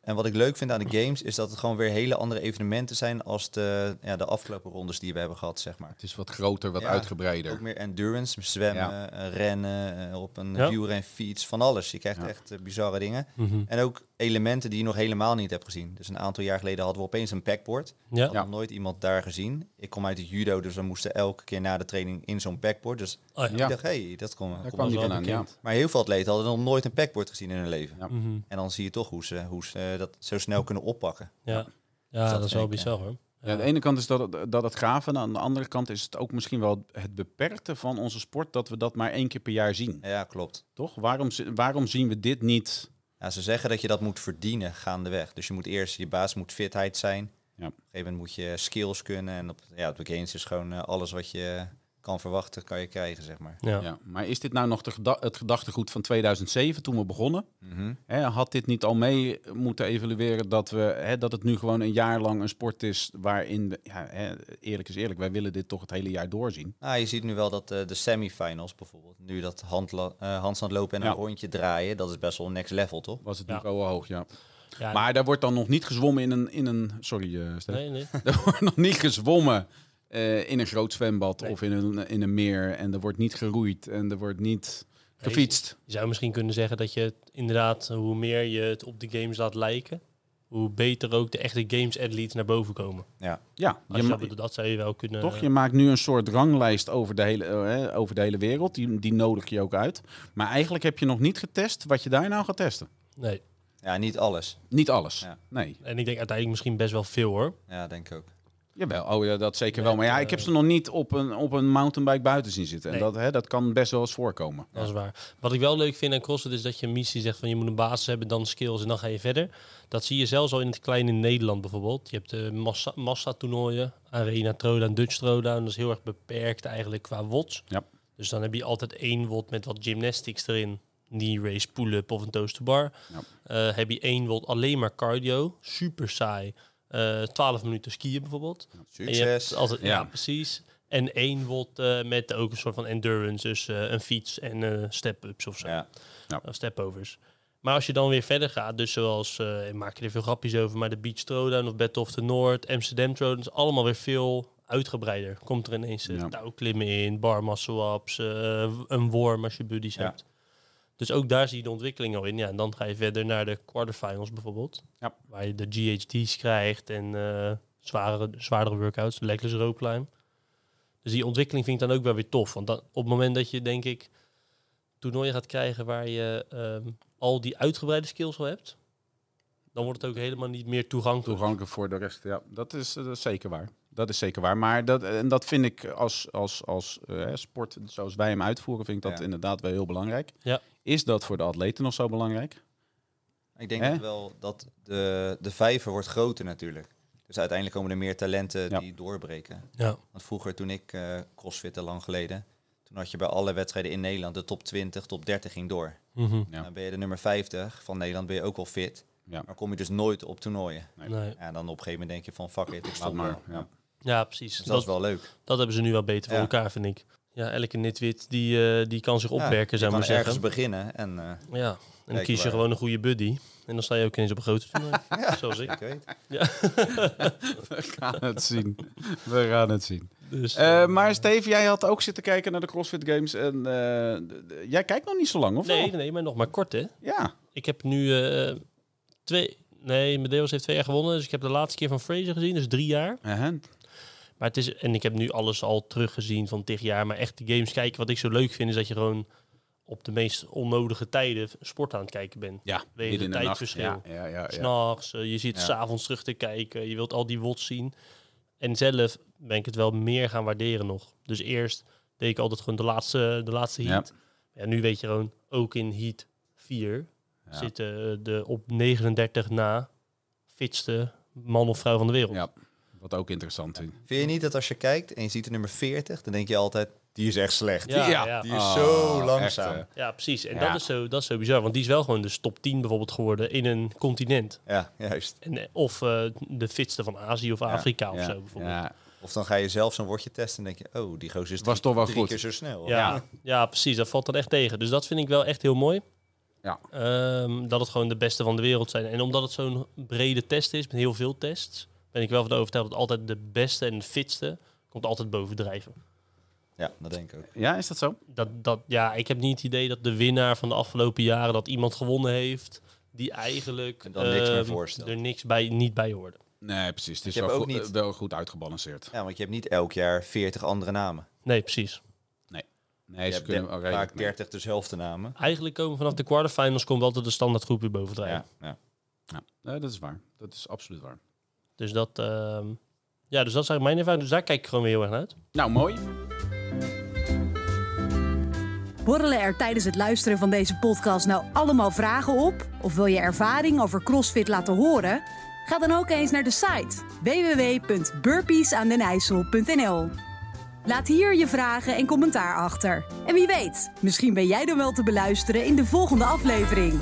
D: En wat ik leuk vind aan de games is dat het gewoon weer hele andere evenementen zijn als de, ja, de afgelopen rondes die we hebben gehad, zeg maar.
B: Het is wat groter, wat
D: Ja.
B: uitgebreider.
D: Ook meer endurance, zwemmen,
B: Ja.
D: eh, rennen, eh, op een
A: Ja.
D: wielrenfiets, van alles. Je krijgt
B: Ja.
D: echt eh, bizarre dingen.
A: Mhm.
D: En ook elementen die je nog helemaal niet hebt gezien. Dus een aantal jaar geleden hadden we opeens een backboard.
A: Ja.
D: Had nog nooit iemand daar gezien. Ik kom uit het judo, dus we moesten elke keer na de training in zo'n backboard. Dus
A: Oh, ja.
B: Ja.
D: ik dacht, hey, dat komt.
B: Daar
D: komt
B: kwam
D: wel.
B: die
A: wel
B: vandaan, ja.
A: bekend.
D: Maar heel veel atleten hadden nog nooit een backboard gezien in hun leven.
B: Ja.
A: Mhm.
D: En dan zie je toch hoe ze, hoe ze eh, dat zo snel kunnen oppakken.
A: ja.
D: Dus
A: ja,
D: dat
A: dat is wel
D: vind ik,
A: bizar hoor.
B: Ja, aan de ene kant is dat, het- dat het gaaf en aan de andere kant is het ook misschien wel het beperkte van onze sport dat we dat maar één keer per jaar zien.
D: Ja, klopt.
B: Toch? Waarom, zi- waarom zien we dit niet?
D: Ja, ze zeggen dat je dat moet verdienen gaandeweg. Dus je moet eerst, je baas moet fitheid zijn.
B: Ja.
D: Op een gegeven moment moet je skills kunnen. En op, ja, op de games is gewoon eh, alles wat je kan verwachten, kan je krijgen, zeg maar.
A: Ja.
B: Ja. Maar is dit nou nog de geda- het gedachtegoed van 2007 toen we begonnen?
D: Mhm.
B: Hè, had dit niet al mee moeten evalueren dat, we, hè, dat het nu gewoon een jaar lang een sport is waarin, we, ja, hè, eerlijk is eerlijk, wij willen dit toch het hele jaar doorzien.
D: Nou, je ziet nu wel dat eh, de semifinals bijvoorbeeld, nu dat handla- eh, handstand lopen en
B: Ja.
D: een rondje draaien, dat is best wel next level, toch?
B: Was het
A: Ja.
B: niveau al hoog, ja.
A: Ja,
B: Maar daar wordt dan nog niet gezwommen in een, in een sorry eh Stef.
A: Nee, nee.
B: daar wordt nog niet gezwommen eh, in een groot zwembad
A: Nee.
B: of in een, in een meer en er wordt niet geroeid en er wordt niet gefietst.
A: Je zou misschien kunnen zeggen dat je het inderdaad, hoe meer je het op de games laat lijken, hoe beter ook de echte games athletes naar boven komen.
B: Ja,
A: Als je
B: je ma-
A: dat, bedoelt, dat zou je wel kunnen.
B: Toch, je maakt nu een soort ranglijst over de hele, eh, hè, over de hele wereld. Die, die nodig je ook uit. Maar eigenlijk heb je nog niet getest wat je daar nou gaat testen.
A: Nee.
D: Ja, niet alles.
B: Niet alles.
D: Ja.
B: Nee.
A: En ik denk uiteindelijk misschien best wel veel hoor.
D: Ja, denk ik ook.
B: Jawel, oh, ja, dat zeker
A: Met,
B: wel. Maar ja,
A: eh,
B: ik heb ze nog niet op een, op een mountainbike buiten zien zitten.
A: Nee.
B: En dat, hè, dat kan best wel eens voorkomen.
A: Dat is waar. Wat ik wel leuk vind aan CrossFit is dat je een missie zegt van je moet een basis hebben, dan skills en dan ga je verder. Dat zie je zelfs al in het kleine in Nederland bijvoorbeeld. Je hebt de massa, massa-toernooien, Arena Troda en Dutch Troda. En dat is heel erg beperkt eigenlijk qua wots.
B: Ja.
A: Dus dan heb je altijd één wot met wat gymnastics erin. knee race pull-up of een toast-to-bar.
B: Ja.
A: Eh, heb je één bijvoorbeeld alleen maar cardio, super saai. Eh 12 minuten skiën bijvoorbeeld. En je hebt
D: Succes.
A: altijd, ja.
B: Ja.
A: precies. En één bijvoorbeeld eh, met ook een soort van endurance, dus eh, een fiets en eh, step-ups of zo.
D: Ja.
A: Uh, stepovers. Maar als je dan weer verder gaat, dus zoals, eh, ik maak je er veel grapjes over, maar de Beach Throwdown of Battle of the North, Amsterdam Throwdown, is allemaal weer veel uitgebreider. Komt er ineens eh,
B: Ja.
A: touwklimmen in, bar muscle-ups, eh, een worm als je buddies
D: Ja.
A: hebt. Dus ook daar zie je de ontwikkeling al in. Ja, en dan ga je verder naar de quarterfinals bijvoorbeeld,
B: Ja.
A: waar je de GHD's krijgt en eh zware, zwaardere workouts, legless rope climb. Dus die ontwikkeling vind ik dan ook wel weer tof. Want dan, op het moment dat je, denk ik, toernooien gaat krijgen waar je ehm, al die uitgebreide skills al hebt, dan wordt het ook helemaal niet meer toegankelijk.
B: Toegankelijk voor de rest, ja. Dat is, eh, dat is zeker waar. Dat is zeker waar. Maar dat, en dat vind ik als, als, als eh, sport, zoals wij hem uitvoeren, vind ik dat
D: Ja.
B: inderdaad wel heel belangrijk.
A: Ja.
B: Is dat voor de atleten nog zo belangrijk?
D: Ik denk
B: Hè?
D: dat wel dat de, de vijver wordt groter natuurlijk. Dus uiteindelijk komen er meer talenten
B: Ja.
D: die doorbreken.
A: Ja.
D: Want vroeger, toen ik eh crossfitte lang geleden, toen had je bij alle wedstrijden in Nederland de top 20, top 30 ging door.
A: Mhm.
B: Ja.
D: Dan ben je de nummer 50 van Nederland, ben je ook wel fit.
B: Ja.
D: Maar kom je dus nooit op toernooien.
B: Nee.
A: Nee.
D: Ja, en dan op een gegeven moment denk je van, fuck it, ik
B: Laat
D: stop
B: maar.
D: wel.
B: Ja.
A: ja, precies.
D: Dus dat,
A: dat,
D: is wel leuk.
A: dat hebben ze nu wel beter
D: Ja.
A: voor elkaar, vind ik. Ja, elke nitwit die, eh, die kan zich opwerken,
D: ja,
A: zou ik maar
D: maar ergens
A: zeggen.
D: beginnen en eh,
A: Ja, en dan
D: Kijk,
A: kies je
D: waar-
A: gewoon een goede buddy. En dan sta je ook ineens op een grote toernooi, zoals ik.
D: ik weet.
B: We gaan het zien. We gaan het zien.
A: Dus,
B: Eh, maar Steve, jij had ook zitten kijken naar de CrossFit Games. En, eh, d- d- jij kijkt nog niet zo lang, of
A: nee,
B: wel?
A: nee, nee, maar nog maar kort, hè.
B: Ja.
A: Ik heb nu eh, twee... Nee, Medeus heeft twee jaar gewonnen. Dus ik heb de laatste keer van Fraser gezien, dus drie jaar.
D: Eh,
B: Uh-huh.
A: Maar het is, en ik heb nu alles al teruggezien van dit jaar. Maar echt de games kijken. Wat ik zo leuk vind, is dat je gewoon op de meest onnodige tijden sport aan het kijken bent.
B: Ja,
A: Wegen
B: midden in de nacht.
A: tijdverschil.
B: Ja, ja, ja, ja.
A: S'nachts, eh, je zit
D: Ja.
A: s'avonds terug te kijken. Je wilt al die wots zien. En zelf ben ik het wel meer gaan waarderen nog. Dus eerst deed ik altijd gewoon de laatste, de laatste heat. Ja. nu weet je gewoon, ook in heat 4
B: Ja.
A: zitten eh, de op 39 na fitste man of vrouw van de wereld.
B: Ja. Wat ook interessant is.
D: Vind je niet dat als je kijkt en je ziet de nummer 40, dan denk je altijd, die is echt slecht.
A: Ja, ja.
D: Die is zo langzaam.
B: Ah, echt,
A: Ja, precies. En
B: Ja.
A: Dat, is zo, dat is zo bizar. Want die is wel gewoon de top 10 bijvoorbeeld geworden in een continent.
D: Ja, juist.
A: En, eh, of eh, de fitste van Azië of Afrika of
B: ja,
A: zo bijvoorbeeld. Ja.
B: ja.
D: Of dan ga je zelf zo'n woordje testen en denk je, oh, die gozer is
B: Was toch wel
D: drie
B: goed.
D: keer zo snel.
A: Ja. precies. Dat valt dan echt tegen. Dus dat vind ik wel echt heel mooi.
B: Ja.
A: Ehm, dat het gewoon de beste van de wereld zijn. En omdat het zo'n brede test is, met heel veel tests, ben ik wel van overtuigd dat altijd de beste en de fitste komt altijd bovendrijven.
D: Ja, dat denk ik ook.
B: Ja, is dat zo?
A: Dat, dat, ja, ik heb niet het idee dat de winnaar van de afgelopen jaren dat iemand gewonnen heeft die eigenlijk
D: En dan niks meer
A: ehm,
D: voorstelt.
A: er niks bij, niet bij hoorde.
B: Nee, precies. Het is
D: Ik heb
B: wel,
D: ook
B: goed,
D: niet-
B: wel goed uitgebalanceerd.
D: Ja, want je hebt niet elk jaar 40 andere namen.
A: Nee, precies.
B: Nee,
D: je
B: ze
D: hebt
B: kunnen
D: de-
B: wel redelijk-
D: vaak 30 dezelfde namen.
A: Eigenlijk komen vanaf de quarterfinals komt altijd de standaard groep weer bovendrijven.
D: Ja, ja.
B: Nee, Eh, dat is waar. Dat is absoluut waar.
A: Dus dat, ehm, ja, dus dat is eigenlijk mijn ervaring. Dus daar kijk ik gewoon weer heel erg naar uit.
B: Nou, mooi.
C: Borrelen er tijdens het luisteren van deze podcast nou allemaal vragen op? Of wil je ervaring over CrossFit laten horen? Ga dan ook eens naar de site www.burpeesaandenijssel.nl Laat hier je vragen en commentaar achter. En wie weet, misschien ben jij dan wel te beluisteren in de volgende aflevering.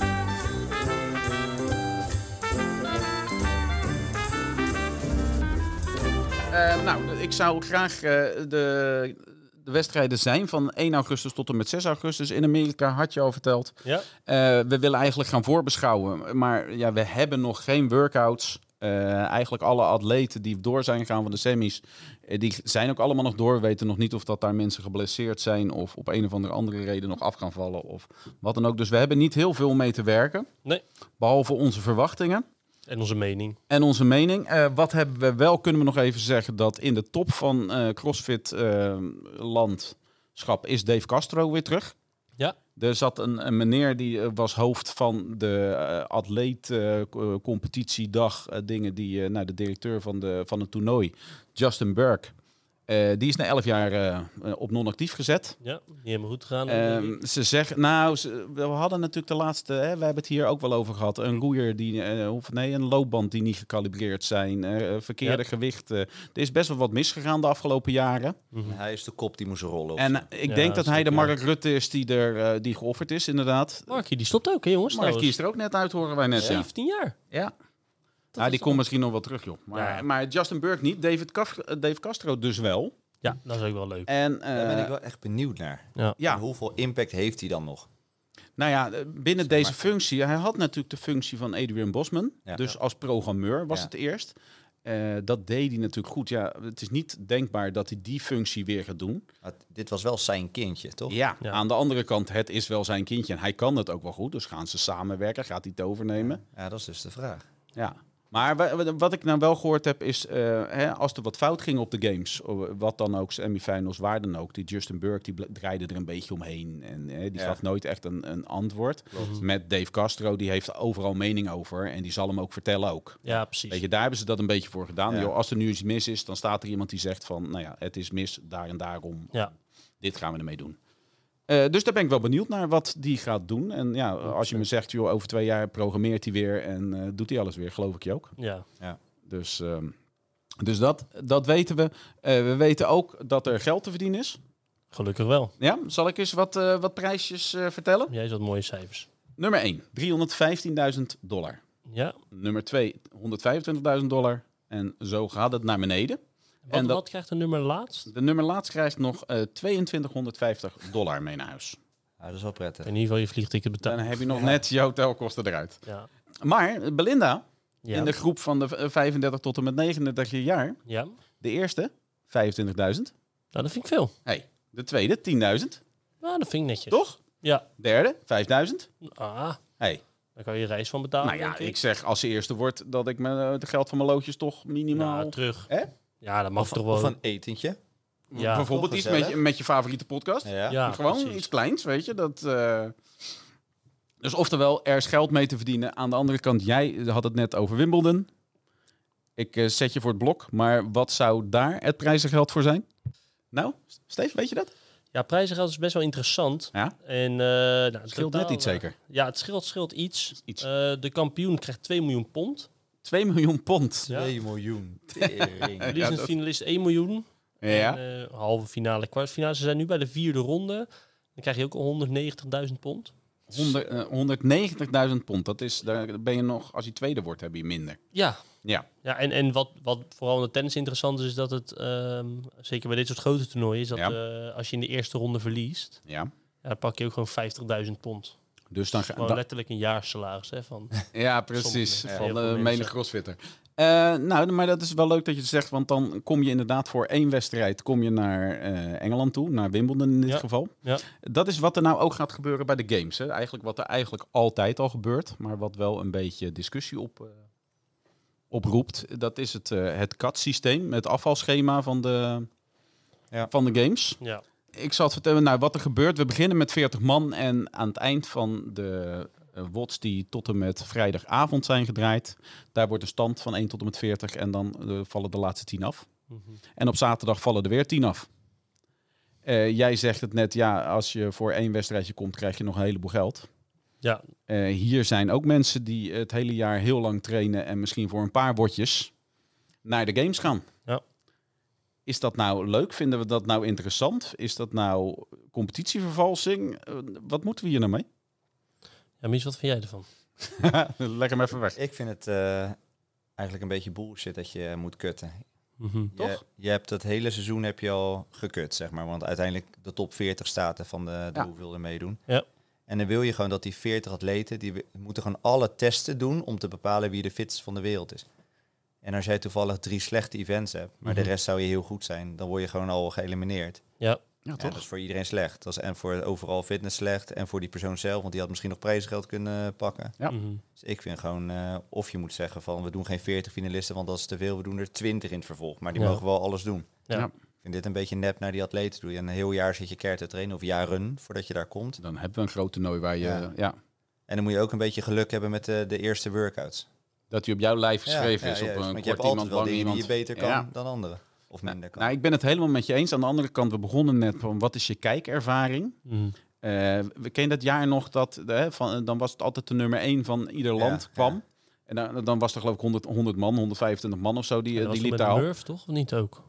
B: Eh, nou, ik zou graag eh, de, de wedstrijden zijn van 1 augustus tot en met 6 augustus in Amerika, had je al verteld.
A: Ja,
B: Eh, we willen eigenlijk gaan voorbeschouwen, maar ja, we hebben nog geen workouts. Eh, eigenlijk alle atleten die door zijn gegaan van de semis, eh, die zijn ook allemaal nog door. We weten nog niet of dat daar mensen geblesseerd zijn of op een of andere andere reden nog af gaan vallen of wat dan ook. Dus we hebben niet heel veel mee te werken,
A: nee.
B: behalve onze verwachtingen.
A: En onze mening.
B: En onze mening. Eh, wat hebben we wel, kunnen we nog even zeggen, dat in de top van eh, CrossFit eh, landschap is Dave Castro weer terug.
A: Ja.
B: Er zat een, een meneer die eh, was hoofd van de eh, atleet eh, atleetcompetitiedag. dingen die eh, nou, de directeur van, de, van het toernooi, Justin Burke. eh, Eh, die is na 11 jaar eh, eh, op non-actief gezet.
A: Ja, niet helemaal goed gegaan. denk ik.
B: Ehm, ze zeggen, nou, ze- we hadden natuurlijk de laatste, hè, we hebben het hier ook wel over gehad. Een roeier die, eh, of nee, een loopband die niet gecalibreerd zijn, eh, verkeerde
A: Ja.
B: gewichten. Er is best wel wat misgegaan de afgelopen jaren.
A: Mhm.
D: Hij is de kop die moest rollen. of
B: En eh,
D: zo.
B: ik
A: Ja,
B: denk dat hij de
A: zeker.
B: Mark Rutte is die, er, eh, die geofferd is, inderdaad.
A: Markie, die stopt ook, hè jongens?
B: Mark
A: trouwens.
B: kiest er ook net uit, horen wij net. Ja,
A: 17 jaar.
B: ja.
A: Dat
B: Ah,
A: is
B: die
A: toch-
B: komt misschien nog wel terug, joh. Maar, eh,
A: Ja.
B: maar Justin Burke niet, David Caf- eh, Dave Castro dus wel.
A: Ja, dat is ook wel leuk.
B: En
D: Daar ben
B: eh,
D: ik wel echt benieuwd naar.
B: ja,
D: En Hoeveel impact heeft hij dan nog?
B: Nou ja, eh, binnen deze functie, hij had natuurlijk de functie van Adrian Bosman.
D: Ja.
B: Dus als programmeur was
D: Ja.
B: het eerst. Eh, dat deed hij natuurlijk goed. Ja, het is niet denkbaar dat hij die functie weer gaat doen.
D: Want Dit was wel zijn kindje, toch?
B: Ja,
A: Ja.
B: aan de andere kant, het is wel zijn kindje en hij kan het ook wel goed. Dus gaan ze samenwerken, gaat hij het overnemen?
D: Ja, dat is dus de vraag.
B: Ja. Maar wa- wa- wat ik nou wel gehoord heb is, eh, hè, als er wat fout ging op de games, o- wat dan ook, semifinals, waar dan ook, die Justin Burke die ble- draaide er een beetje omheen en hè, die
D: Ja.
B: gaf nooit echt een, een antwoord.
A: Klopt.
B: Met Dave Castro, die heeft overal mening over en die zal hem ook vertellen ook.
A: Ja, precies.
B: Weet je, daar hebben ze dat een beetje voor gedaan.
D: Ja.
B: Joh, als er nu iets mis is, dan staat er iemand die zegt van, nou ja, het is mis daar en daarom,
A: Ja.
B: dit gaan we ermee doen. Eh, dus daar ben ik wel benieuwd naar wat die gaat doen. En ja, als je me zegt, joh, over twee jaar programmeert hij weer en eh, doet hij alles weer, geloof ik je ook.
A: Ja.
B: Dus, ehm, dus dat, dat weten we. Eh, we weten ook dat er geld te verdienen is.
A: Gelukkig wel.
B: Ja, zal ik eens wat, eh, wat prijsjes eh, vertellen?
A: Jij zat mooie cijfers.
B: Nummer 1, 315.000 dollar.
A: Ja.
B: Nummer 2, 125.000 dollar. En zo gaat het naar beneden.
A: Wat,
B: En dat-
A: wat krijgt de nummer laatst?
B: De nummer laatst krijgt nog eh 2250 dollar mee naar huis.
D: Ja, dat is wel prettig.
A: In ieder geval je vliegticket
B: Dan
A: betalen.
B: heb je nog net je hotelkosten eruit.
A: Ja.
B: Maar eh, Belinda,
A: Ja.
B: in de groep van de eh, 35 tot en met 39 jaar,
A: ja. Nou,
B: de eerste 25.000.
A: dat vind ik veel.
B: Hey, de tweede 10.000,
A: Nou, dat vind ik netjes.
B: toch?
A: Ja.
B: Derde, 5000.
A: Ah,
B: Hey,
A: daar kan je reis van betalen,
B: nou ja,
A: denk
B: ik zeg als ze eerste wordt dat ik mijn, eh, het geld van mijn loodjes toch minimaal...
A: Nou, terug.
B: Hè?
A: Ja, dat mag toch wel.
D: Of een etentje.
A: ja.
B: bijvoorbeeld
D: Toch
B: iets met je,
D: gezellig.
B: met je favoriete podcast.
D: Ja.
A: ja,
B: Gewoon
A: precies.
B: iets kleins, weet je. Dat, eh, Dus oftewel, er is geld mee te verdienen. Aan de andere kant, jij had het net over Wimbledon. Ik eh, zet je voor het blok, maar wat zou daar het prijzengeld voor zijn? Nou, Steve, weet je dat?
A: Ja, prijzengeld is best wel interessant.
B: Ja.
A: En, eh nou, het
B: Scheelt net
A: totaal,
B: iets
A: eh,
B: zeker.
A: Ja, het scheelt, scheelt iets.
B: Iets.
A: Eh, de kampioen krijgt 2 miljoen pond.
B: 2 miljoen pond.
A: Ja.
D: 2 miljoen. Tering.
A: Verliezend
B: dat-
A: finalist 1 miljoen.
B: Ja.
A: En, eh, halve finale, kwartfinale. Ze zijn nu bij de vierde ronde. Dan krijg je ook 190.000 pond.
B: Honderd- eh, 190.000 pond. Dat is, daar ben je nog, als je tweede wordt, heb je minder.
A: Ja.
B: Ja.
A: Ja, en, en wat, wat vooral in de tennis interessant is, is dat het, ehm, zeker bij dit soort grote toernooien, is dat eh, als je in de eerste ronde verliest,
B: Ja.
A: ja, dan pak je ook gewoon 50.000 pond.
B: Dus dan, ga-
A: Gewoon
B: da-
A: letterlijk een jaarsalaris. Hè, van,
B: Ja, precies.
A: Sommige mensen.
B: Van
A: Heel
B: de
A: veel mensen.
B: menig crossfitter. Eh, nou, maar dat is wel leuk dat je het zegt, want dan kom je inderdaad voor één wedstrijd kom je naar eh, Engeland toe, naar Wimbledon in dit
A: Ja.
B: geval.
A: Ja.
B: Dat is wat er nou ook gaat gebeuren bij de games. Hè? Eigenlijk wat er eigenlijk altijd al gebeurt, maar wat wel een beetje discussie op, eh, oproept. Dat is het, eh het CAT-systeem, het afvalschema van de,
D: Ja.
B: van de games.
A: ja.
B: Ik zal het vertellen nou, wat er gebeurt. We beginnen met 40 man en aan het eind van de eh, wots die tot en met vrijdagavond zijn gedraaid, daar wordt de stand van 1 tot en met 40 en dan eh, vallen de laatste 10 af.
A: Mhm.
B: En op zaterdag vallen er weer 10 af. Eh, jij zegt het net, ja, als je voor één wedstrijdje komt, krijg je nog een heleboel geld.
A: ja.
B: Eh, hier zijn ook mensen die het hele jaar heel lang trainen en misschien voor een paar bordjes naar de games gaan.
A: Ja.
B: Is dat nou leuk? Vinden we dat nou interessant? Is dat nou competitievervalsing? Eh, wat moeten we hier nou mee?
A: Ja, Mies, wat vind jij ervan?
B: Leg hem even weg.
D: Ik vind het eh, eigenlijk een beetje bullshit dat je moet kutten.
A: Mhm.
D: Je-
B: Toch?
D: Je, hebt dat hele seizoen heb je al gekut, zeg maar. Want uiteindelijk de top 40 staat er van de, de
B: Ja.
D: hoeveel er meedoen.
A: Ja.
D: En dan wil je gewoon dat die 40 atleten, die wi- moeten gewoon alle testen doen om te bepalen wie de fitste van de wereld is. En als jij toevallig drie slechte events hebt, maar
A: Mhm.
D: de rest zou je heel goed zijn, dan word je gewoon al geëlimineerd.
A: Ja,
B: Ja,
D: Ja, dat is voor iedereen slecht. Dat is en voor overal fitness slecht en voor die persoon zelf, want die had misschien nog prijsgeld kunnen eh, pakken.
B: Ja.
A: Mhm.
D: Dus ik vind gewoon, eh, of je moet zeggen van we doen geen 40 finalisten, want dat is te veel. We doen er 20 in het vervolg. Maar die
A: Ja.
D: mogen wel alles doen.
A: Ja.
B: Ja.
D: Ik vind dit een beetje nep naar die atleten toe. En een heel jaar zit je keihard te trainen, of jaren voordat je daar komt.
B: Dan hebben we een groot toernooi waar je... Ja.
D: Ja. En dan moet je ook een beetje geluk hebben met eh, de, de eerste workouts.
B: dat hij op jouw lijf geschreven
D: Ja,
B: is.
D: ja,
B: op
D: juist.
B: een
D: want
B: kort
D: je hebt
B: iemand,
D: altijd wel
B: lang
D: dingen die
B: iemand.
D: je beter kan
B: Ja.
D: dan anderen. of minder kan.
B: Nou, ik ben het helemaal met je eens. Aan de andere kant, we begonnen net van wat is je kijkervaring?
A: Mm.
B: Eh, we kennen dat jaar nog dat, de, hè, van, eh, dan was het altijd de nummer één van ieder
D: Ja,
B: land
D: ja.
B: kwam. En dan, dan was er geloof ik 100, 100 man, 125 man of zo, die,
A: En
B: eh,
A: dat was toch
B: die liep
A: met
B: daar al.
A: Murph, toch? Of niet ook?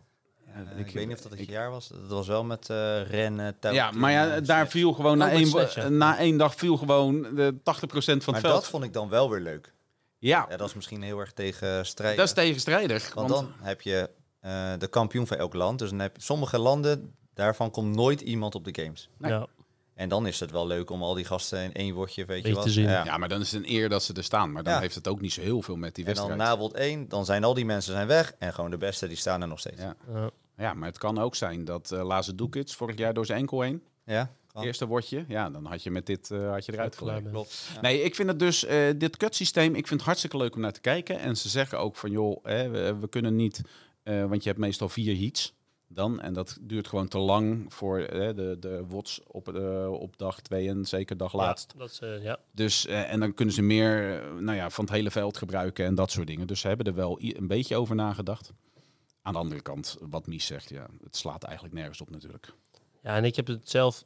B: Ja,
D: Eh, ik, weet niet of dat het jaar was. Dat was wel met eh, rennen, touw.
B: Ja, maar ja, daar viel gewoon
A: Oh,
B: na
A: met
B: één,
A: Sledge, ja.
B: na één dag viel gewoon de 80% van
D: Maar
B: het veld.
D: dat vond ik dan wel weer leuk.
B: ja,
D: Ja, dat is misschien heel erg tegen strijden.
B: dat is tegenstrijdig.
D: Want
B: Want
D: dan heb je eh, de kampioen van elk land. Dus dan heb je sommige landen, daarvan komt nooit iemand op de games.
B: Nee.
A: Ja.
D: En dan is het wel leuk om al die gasten in één woordje, weet je
A: Beetje
D: wat.
A: te zien.
D: Ja.
B: ja, maar dan is het een eer dat ze er staan. Maar dan
D: Ja.
B: heeft het ook niet zo heel veel met die
D: En dan
B: wedstrijd.
D: na World 1, dan zijn al die mensen zijn weg. En gewoon de beste, die staan er nog steeds.
B: Ja.
D: Ja,
A: Ja.
B: Ja, maar het kan ook zijn dat eh Laze Doekits vorig jaar door zijn enkel heen,
D: kan.
B: eerste wordje, ja, dan had je met dit eh, had je eruit
A: Uitgeladen.
B: gelaten.
D: klopt. Ja.
B: Nee, ik vind het dus, eh, dit kutsysteem, ik vind het hartstikke leuk om naar te kijken. En ze zeggen ook van, joh, hè, we, we kunnen niet, eh, want je hebt meestal vier heats dan. En dat duurt gewoon te lang voor eh, de, de WOTS op, eh, op dag twee en zeker dag laatst.
A: Ja, dat is, eh, ja.
B: Dus, eh, en dan kunnen ze meer eh, nou ja, van het hele veld gebruiken en dat soort dingen. Dus ze hebben er wel i- een beetje over nagedacht. Aan de andere kant, wat Mies zegt, ja, het slaat eigenlijk nergens op natuurlijk.
A: ja, en ik heb het zelf,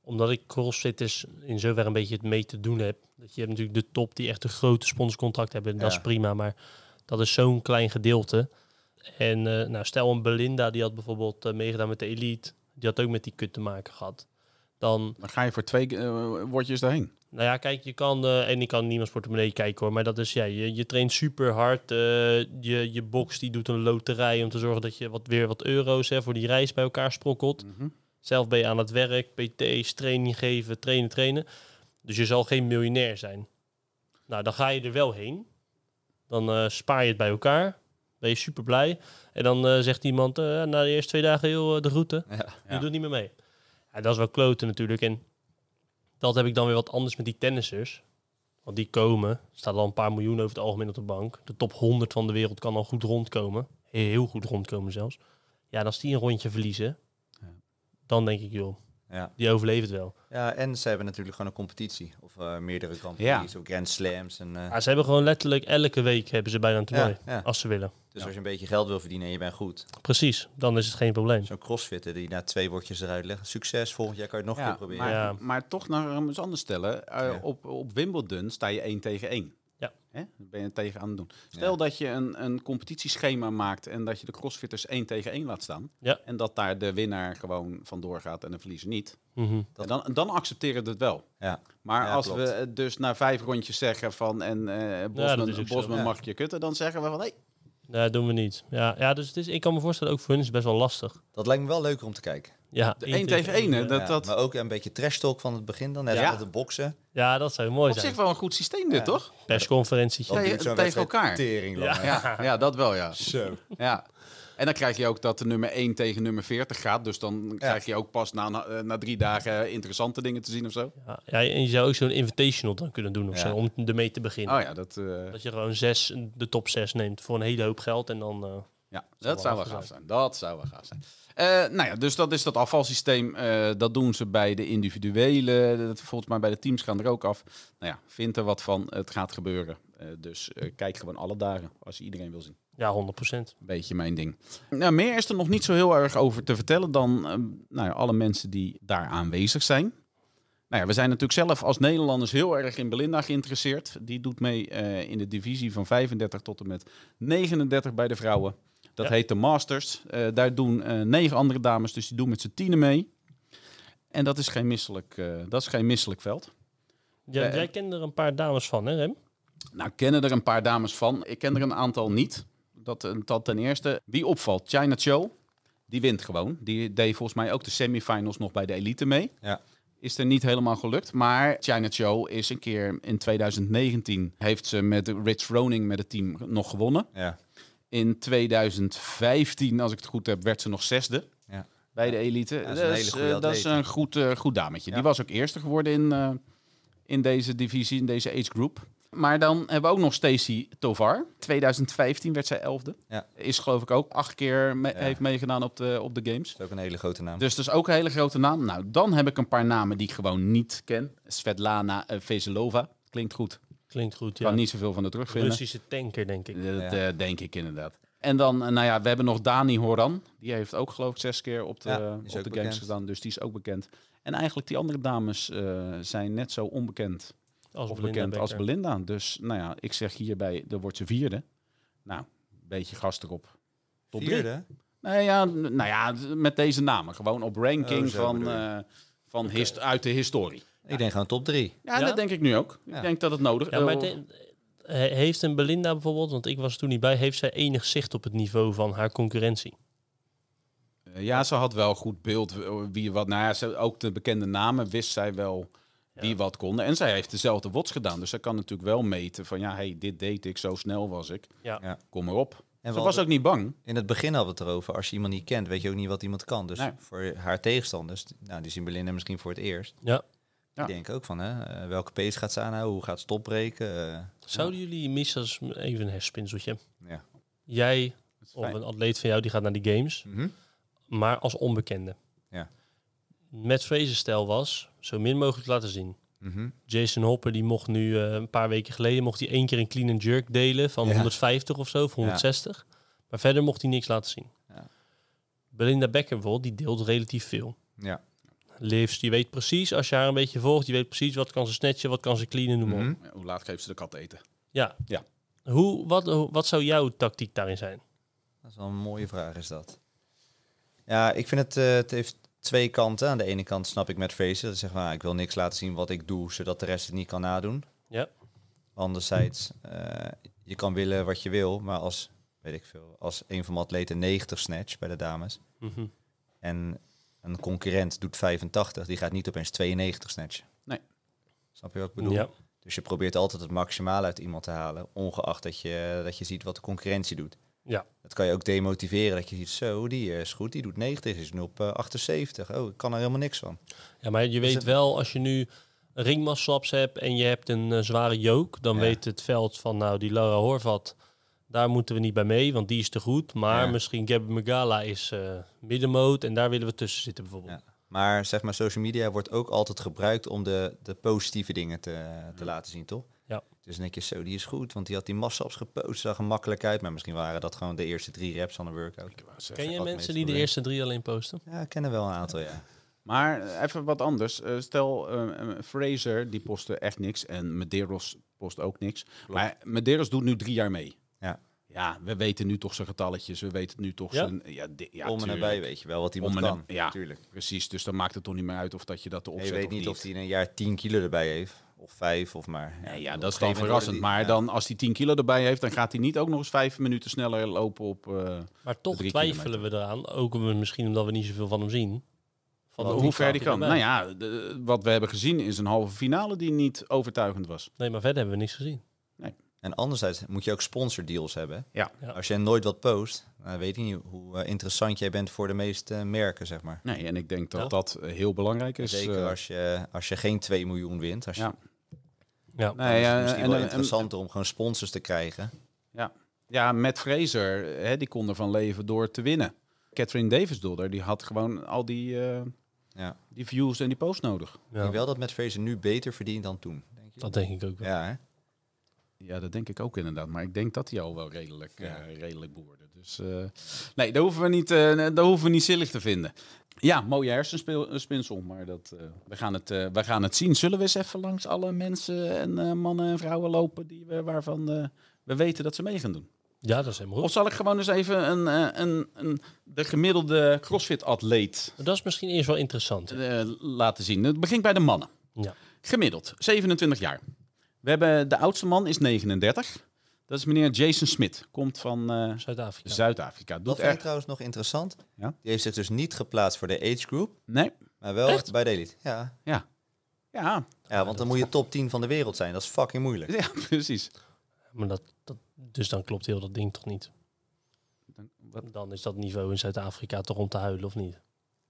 A: omdat ik CrossFit is in zoverre een beetje het mee te doen heb. Dat je hebt natuurlijk de top die echt een grote sponsorcontract hebben. En dat
D: Ja.
A: is prima, maar dat is zo'n klein gedeelte. En eh, nou, stel een Belinda, die had bijvoorbeeld eh, meegedaan met de Elite. Die had ook met die kut te maken gehad. Dan
B: Dan ga je voor twee eh, woordjes daarheen.
A: Nou ja, kijk, je kan, eh, en ik kan niemands portemonnee kijken hoor, maar dat is, ja, je, je traint super hard. eh, je, je box die doet een loterij om te zorgen dat je wat, weer wat euro's hè, voor die reis bij elkaar sprokkelt. Zelf ben je aan het werk, PT's, training geven, trainen, trainen. Dus je zal geen miljonair zijn. Nou, dan ga je er wel heen. Dan eh, spaar je het bij elkaar. Ben je super blij. En dan eh, zegt iemand eh, na de eerste twee dagen heel eh, de route.
D: Ja.
A: Je
B: Ja.
A: doet niet meer mee. Ja, dat is wel kloten natuurlijk. En dat heb ik dan weer wat anders met die tennissers. Want die komen, staat al een paar miljoen over het algemeen op de bank. De top 100 van de wereld kan al goed rondkomen. Heel goed rondkomen zelfs. Ja, en als die een rondje verliezen,
B: Ja.
A: dan denk ik, joh,
D: Ja.
A: die overleven het wel.
D: ja, en ze hebben natuurlijk gewoon een competitie. Of eh, meerdere kampioens, of Grand Slams. En,
B: Ah,
D: eh,
A: Ja, ze hebben gewoon letterlijk elke week hebben ze bijna een toernooi.
D: ja, ja.
A: Als ze willen.
D: Dus als je een beetje geld wil verdienen en je bent goed.
A: Precies, dan is het geen probleem.
D: Zo'n crossfitter die na twee woordjes eruit legt. Succes, volgend jaar kan je het nog een
B: Ja,
D: keer proberen.
B: maar,
A: Ja.
B: maar toch naar iets anders stellen. Eh,
D: Ja.
B: op, op Wimbledon sta je één tegen één.
A: Ja.
B: Hè? Dan ben je tegen aan het doen. Stel dat je een, een competitieschema maakt en dat je de crossfitters één tegen één laat staan.
A: Ja.
B: En dat daar de winnaar gewoon vandoor gaat en de verliezer niet.
A: Mhm.
B: En dan, dan accepteren we het wel.
D: Ja.
B: Maar
D: Ja,
B: als
D: klopt.
B: we eh, dus na vijf rondjes zeggen van en eh Bosman,
A: is ook zo. Oh,
B: Bosman
D: Ja.
B: mag je kutten, dan zeggen we van hé,
A: Nee, dat doen we niet. Ja, ja dus het is, ik kan me voorstellen, ook voor hun is het best wel lastig.
D: Dat lijkt me wel leuker om te kijken.
A: Ja,
B: de één tegen één. hè,
D: Ja,
B: Dat, dat,
D: Maar ook een beetje trash talk van het begin dan. Net
B: Ja.
D: met de boksen.
A: Ja, dat zou mooi
B: op zich
A: zijn.
B: wel een goed systeem dit,
D: Ja.
B: toch?
A: Persconferentie.
D: Dan
B: Tegen-
D: duurt zo'n
B: tegen
D: wedstrijd
B: elkaar.
D: Tering lang.
A: Ja.
D: hè.
B: Ja, ja, dat wel, ja.
D: Zo.
B: ja. En dan krijg je ook dat de nummer 1 tegen nummer 40 gaat. Dus dan krijg je ook pas na, na, na drie dagen eh, interessante dingen te zien of zo. Oh
A: Ja, ja, en je zou ook zo'n invitational dan kunnen doen of
D: Ja.
A: zo, om ermee te beginnen.
B: ja, dat, eh,
A: Dat je gewoon zes, de top zes neemt voor een hele hoop geld en dan... eh,
B: Ja,
A: Zou
B: dat
A: wel
B: zou wel
A: gaaf
B: gaaf zijn. Dat zou wel gaaf zijn. Eh, nou ja, dus dat is dat afvalsysteem. eh, dat doen ze bij de individuele. Dat, volgens mij bij de teams gaan er ook af. Nou ja, vind er wat van. Het gaat gebeuren. Eh, dus eh, kijk gewoon alle dagen als je iedereen wil zien.
A: ja, 100 procent.
B: Een beetje mijn ding. Nou, meer is er nog niet zo heel erg over te vertellen dan eh, nou ja, alle mensen die daar aanwezig zijn. Nou ja, we zijn natuurlijk zelf als Nederlanders heel erg in Belinda geïnteresseerd. Die doet mee eh, in de divisie van 35 tot en met 39 bij de vrouwen. Dat
A: Ja.
B: heet de Masters. Eh, daar doen eh, negen andere dames, dus die doen met z'n tienen mee. En dat is geen misselijk, eh, dat is geen misselijk veld.
A: Ja,
B: Eh,
A: jij kende er een paar dames van, hè Rem?
B: Nou, kennen er een paar dames van. Ik ken er een aantal niet. Dat, eh, dat ten eerste. Wie opvalt? China Cho. Die wint gewoon. Die deed volgens mij ook de semifinals nog bij de elite mee.
D: Ja.
B: Is er niet helemaal gelukt. Maar China Cho is een keer in 2019... heeft ze met Rich Roning met het team nog gewonnen.
D: Ja.
B: In 2015, als ik het goed heb, werd ze nog zesde.
D: Ja.
B: Bij de elite.
D: dat
B: dat
D: is
B: is,
D: een hele goede
B: eh, dat is
D: atlete.
B: een goed, eh, goed dametje.
D: Ja.
B: Die was ook eerste geworden in, eh, in deze divisie, in deze age group. Maar dan hebben we ook nog Stacy Tovar. 2015 werd zij elfde.
D: Ja.
B: Is geloof ik ook acht keer me-
D: Ja.
B: heeft meegedaan op de, op de games.
D: Dat is ook een hele grote naam.
B: Dus dat is ook een hele grote naam. Nou, dan heb ik een paar namen die ik gewoon niet ken. Svetlana eh, Veselova. Klinkt goed.
A: Klinkt goed,
B: Kan
A: ja.
B: niet zoveel van de terugvinden.
A: Russische tanker, denk ik.
B: Dat
D: Ja.
B: eh, denk ik inderdaad. En dan, eh, nou ja, we hebben nog Dani Horan. Die heeft ook geloof ik zes keer op de,
D: Ja, die is
B: op
D: ook
B: de games
D: bekend.
B: gedaan. Dus die is ook bekend. En eigenlijk die andere dames eh, zijn net zo onbekend
A: Als
B: of
A: Belinda
B: bekend als
A: Becker.
B: Belinda. Dus nou ja, ik zeg hierbij, dan wordt ze vierde. Nou, een beetje gast erop. Top drie.
D: Vierde?
B: Nou ja, n- nou ja, d- met deze namen. Gewoon op ranking
D: Oh, zo
B: van,
D: bedoel je.
B: eh, van hist- uit de historie.
D: Ik denk gewoon top drie.
B: Ja,
A: Ja?
B: dat denk ik nu ook.
D: Ja.
B: Ik denk dat het nodig eh, is.
A: Ja, maar het- e- he- heeft een Belinda bijvoorbeeld, want ik was er toen niet bij, heeft zij enig zicht op het niveau van haar concurrentie?
B: Eh, ja, ze had wel goed beeld eh, wie wat. Nou ja, ze, ook de bekende namen wist zij wel wie
A: Ja.
B: wat konden. En zij heeft dezelfde wots gedaan. Dus zij kan natuurlijk wel meten van ja, hey, dit deed ik, zo snel was ik.
A: Ja.
D: Ja.
B: Kom maar op.
D: En
B: ze
D: we
B: was
D: hadden-
B: ook niet bang.
D: In het begin hadden we het erover, als je iemand niet kent, weet je ook niet wat iemand kan. Dus
B: Nee.
D: voor haar tegenstanders, nou, die zien Belinda misschien voor het eerst.
A: Ja.
B: Ja.
D: Die denken ook van, hè, eh, welke pace gaat ze aanhouden, hoe gaat ze het opbreken? eh,
A: Zouden jullie missen als even een herspinseltje?
D: ja.
A: Jij
B: Dat is
A: of
B: fijn.
A: een atleet van jou die gaat naar die games,
D: Mhm.
A: maar als onbekende.
D: Ja.
A: Met Fraser's stijl was zo min mogelijk laten zien.
D: Mhm.
A: Jason Hopper die mocht nu eh, een paar weken geleden mocht hij één keer een clean and jerk delen van
D: Ja.
A: 150 of zo, of 160. Maar verder mocht hij niks laten zien.
D: Ja.
A: Belinda Becker bijvoorbeeld, die deelt relatief veel.
D: ja.
A: Livs, die weet precies, als je haar een beetje volgt, die weet precies wat kan ze snatchen, wat kan ze cleanen, noem maar op.
D: Mhm.
B: Ja, Hoe laat geeft ze de kat eten?
A: Ja.
B: Ja.
A: Hoe, wat, hoe- wat zou jouw tactiek daarin zijn?
D: Dat is wel een mooie vraag, is dat. Ja, ik vind het, eh, het heeft twee kanten. Aan de ene kant snap ik met Fraser, dat zegt van, ah, ik wil niks laten zien wat ik doe, zodat de rest het niet kan nadoen.
A: Ja.
D: Anderzijds, eh, je kan willen wat je wil, maar als, weet ik veel, als een van mijn atleten 90 snatch bij de dames
A: Mhm.
D: en een concurrent doet 85, die gaat niet opeens 92 snatchen.
B: Nee.
D: Snap je wat ik bedoel?
A: Ja.
D: Dus je probeert altijd het maximale uit iemand te halen, ongeacht dat je, dat je ziet wat de concurrentie doet.
A: Ja.
D: Dat kan je ook demotiveren, dat je ziet, zo, die eh, is goed, die doet 90, is nu op eh, 78. Oh, ik kan er helemaal niks van.
A: ja, maar je weet
D: het-
A: wel, als je nu ringmasslaps hebt en je hebt een eh, zware jook, dan
D: Ja.
A: weet het veld van, nou, die Laura Horvat, daar moeten we niet bij mee, want die is te goed. Maar
D: Ja.
A: misschien Gabby Magala is eh middenmoot en daar willen we tussen zitten bijvoorbeeld.
D: Maar zeg maar, social media wordt ook altijd gebruikt om de, de positieve dingen te, te laten zien, toch?
A: Ja.
D: Dus dan denk je, zo, die is goed, want die had die massaps gepost, zag er makkelijk uit. Maar misschien waren dat gewoon de eerste drie reps aan een workout.
A: Ken je
D: wat
A: mensen
D: meest
A: die de
D: probleem.
A: eerste drie alleen posten?
D: Ja, ik ken er wel een aantal, ja.
B: Maar eh, even wat anders. Eh, stel, eh, eh, Fraser die postte echt niks en Medeiros post ook niks. Maar Medeiros doet nu drie jaar mee.
D: Ja.
B: Ja, we weten nu toch zijn getalletjes. We weten nu toch
A: Ja?
B: zijn... Ja, di- ja,
D: Om en
B: tuurlijk.
D: nabij weet je wel wat iemand
B: Om en
D: kan.
B: na- ja.
D: tuurlijk.
B: Precies, dus dan maakt het toch niet meer uit of dat je dat
D: En
B: erop
D: je
B: zet
D: weet
B: of
D: niet
B: niet.
D: of die in een jaar 10 kilo erbij heeft. Of 5 of maar.
B: Nee,
D: op
B: ja,
D: een
B: dat is
D: gegeven
B: dan
D: moment
B: verrassend.
D: worden die-
B: Maar
D: ja.
B: dan, als hij 10 kilo erbij heeft, dan gaat hij niet ook nog eens vijf minuten sneller lopen op... eh,
A: Maar toch
B: Drie
A: twijfelen we eraan, ook om- misschien omdat we niet zoveel van hem zien. Van
B: hoe ver die kan. Nou ja, de- wat we hebben gezien is een halve finale die niet overtuigend was.
A: Nee, maar verder hebben we niks gezien.
D: En anderzijds moet je ook sponsordeals hebben.
B: Ja.
A: Ja.
D: Als je nooit wat post, dan weet ik niet hoe eh, interessant jij bent voor de meeste eh, merken, zeg maar.
B: Nee, en ik denk dat
A: Ja.
B: dat eh, heel belangrijk is.
D: Zeker
B: eh,
D: als, je, als je geen 2 miljoen wint. Als je,
B: Ja.
A: Ja.
D: dan
B: Nee,
D: is het
B: eh,
D: misschien
B: en-
D: wel
B: en-
D: interessanter om gewoon sponsors te krijgen.
B: Ja, Matt Fraser, hè, die kon ervan leven door te winnen. Catherine Davis Dodder, die had gewoon al die, eh,
D: Ja.
B: die views en die posts nodig.
D: Ik denk wel dat met Fraser nu beter verdient dan toen. Denk je?
A: Dat denk ik ook wel.
D: Ja, hè?
B: Ja, dat denk ik ook inderdaad. Maar ik denk dat die al wel redelijk, eh,
D: Ja.
B: redelijk behoorde. Dus eh, nee, daar hoeven, we niet, eh, daar hoeven we niet zielig te vinden. Ja, mooie hersenspinsel, maar dat, eh, we, gaan het, eh, we gaan het zien. Zullen we eens even langs alle mensen en eh, mannen en vrouwen lopen die we, waarvan eh, we weten dat ze mee gaan doen?
A: Ja, dat is helemaal
B: Of
A: goed.
B: zal ik gewoon eens even een, eh, een, een, de gemiddelde CrossFit-atleet
A: Maar Dat is misschien eerst wel interessant.
B: eh, laten zien? Het begint bij de mannen.
A: Ja.
B: Gemiddeld, 27 jaar. We hebben, de oudste man is 39. Dat is meneer Jason Smit. Komt van eh,
A: Zuid-Afrika.
B: Zuid-Afrika.
D: Dat
B: Doet
D: vind ik
B: echt...
D: trouwens nog interessant.
B: Ja.
D: Die heeft zich dus niet geplaatst voor de age group,
B: Nee?
D: maar wel
A: Echt?
D: bij de elite. Ja.
B: Ja,
D: ja, want dan moet je top 10 van de wereld zijn. Dat is fucking moeilijk.
B: ja precies.
A: maar dat, dat, dus dan klopt heel dat ding toch niet.
B: Dan- wat-
A: Dan is dat niveau in Zuid-Afrika toch om te huilen, of niet?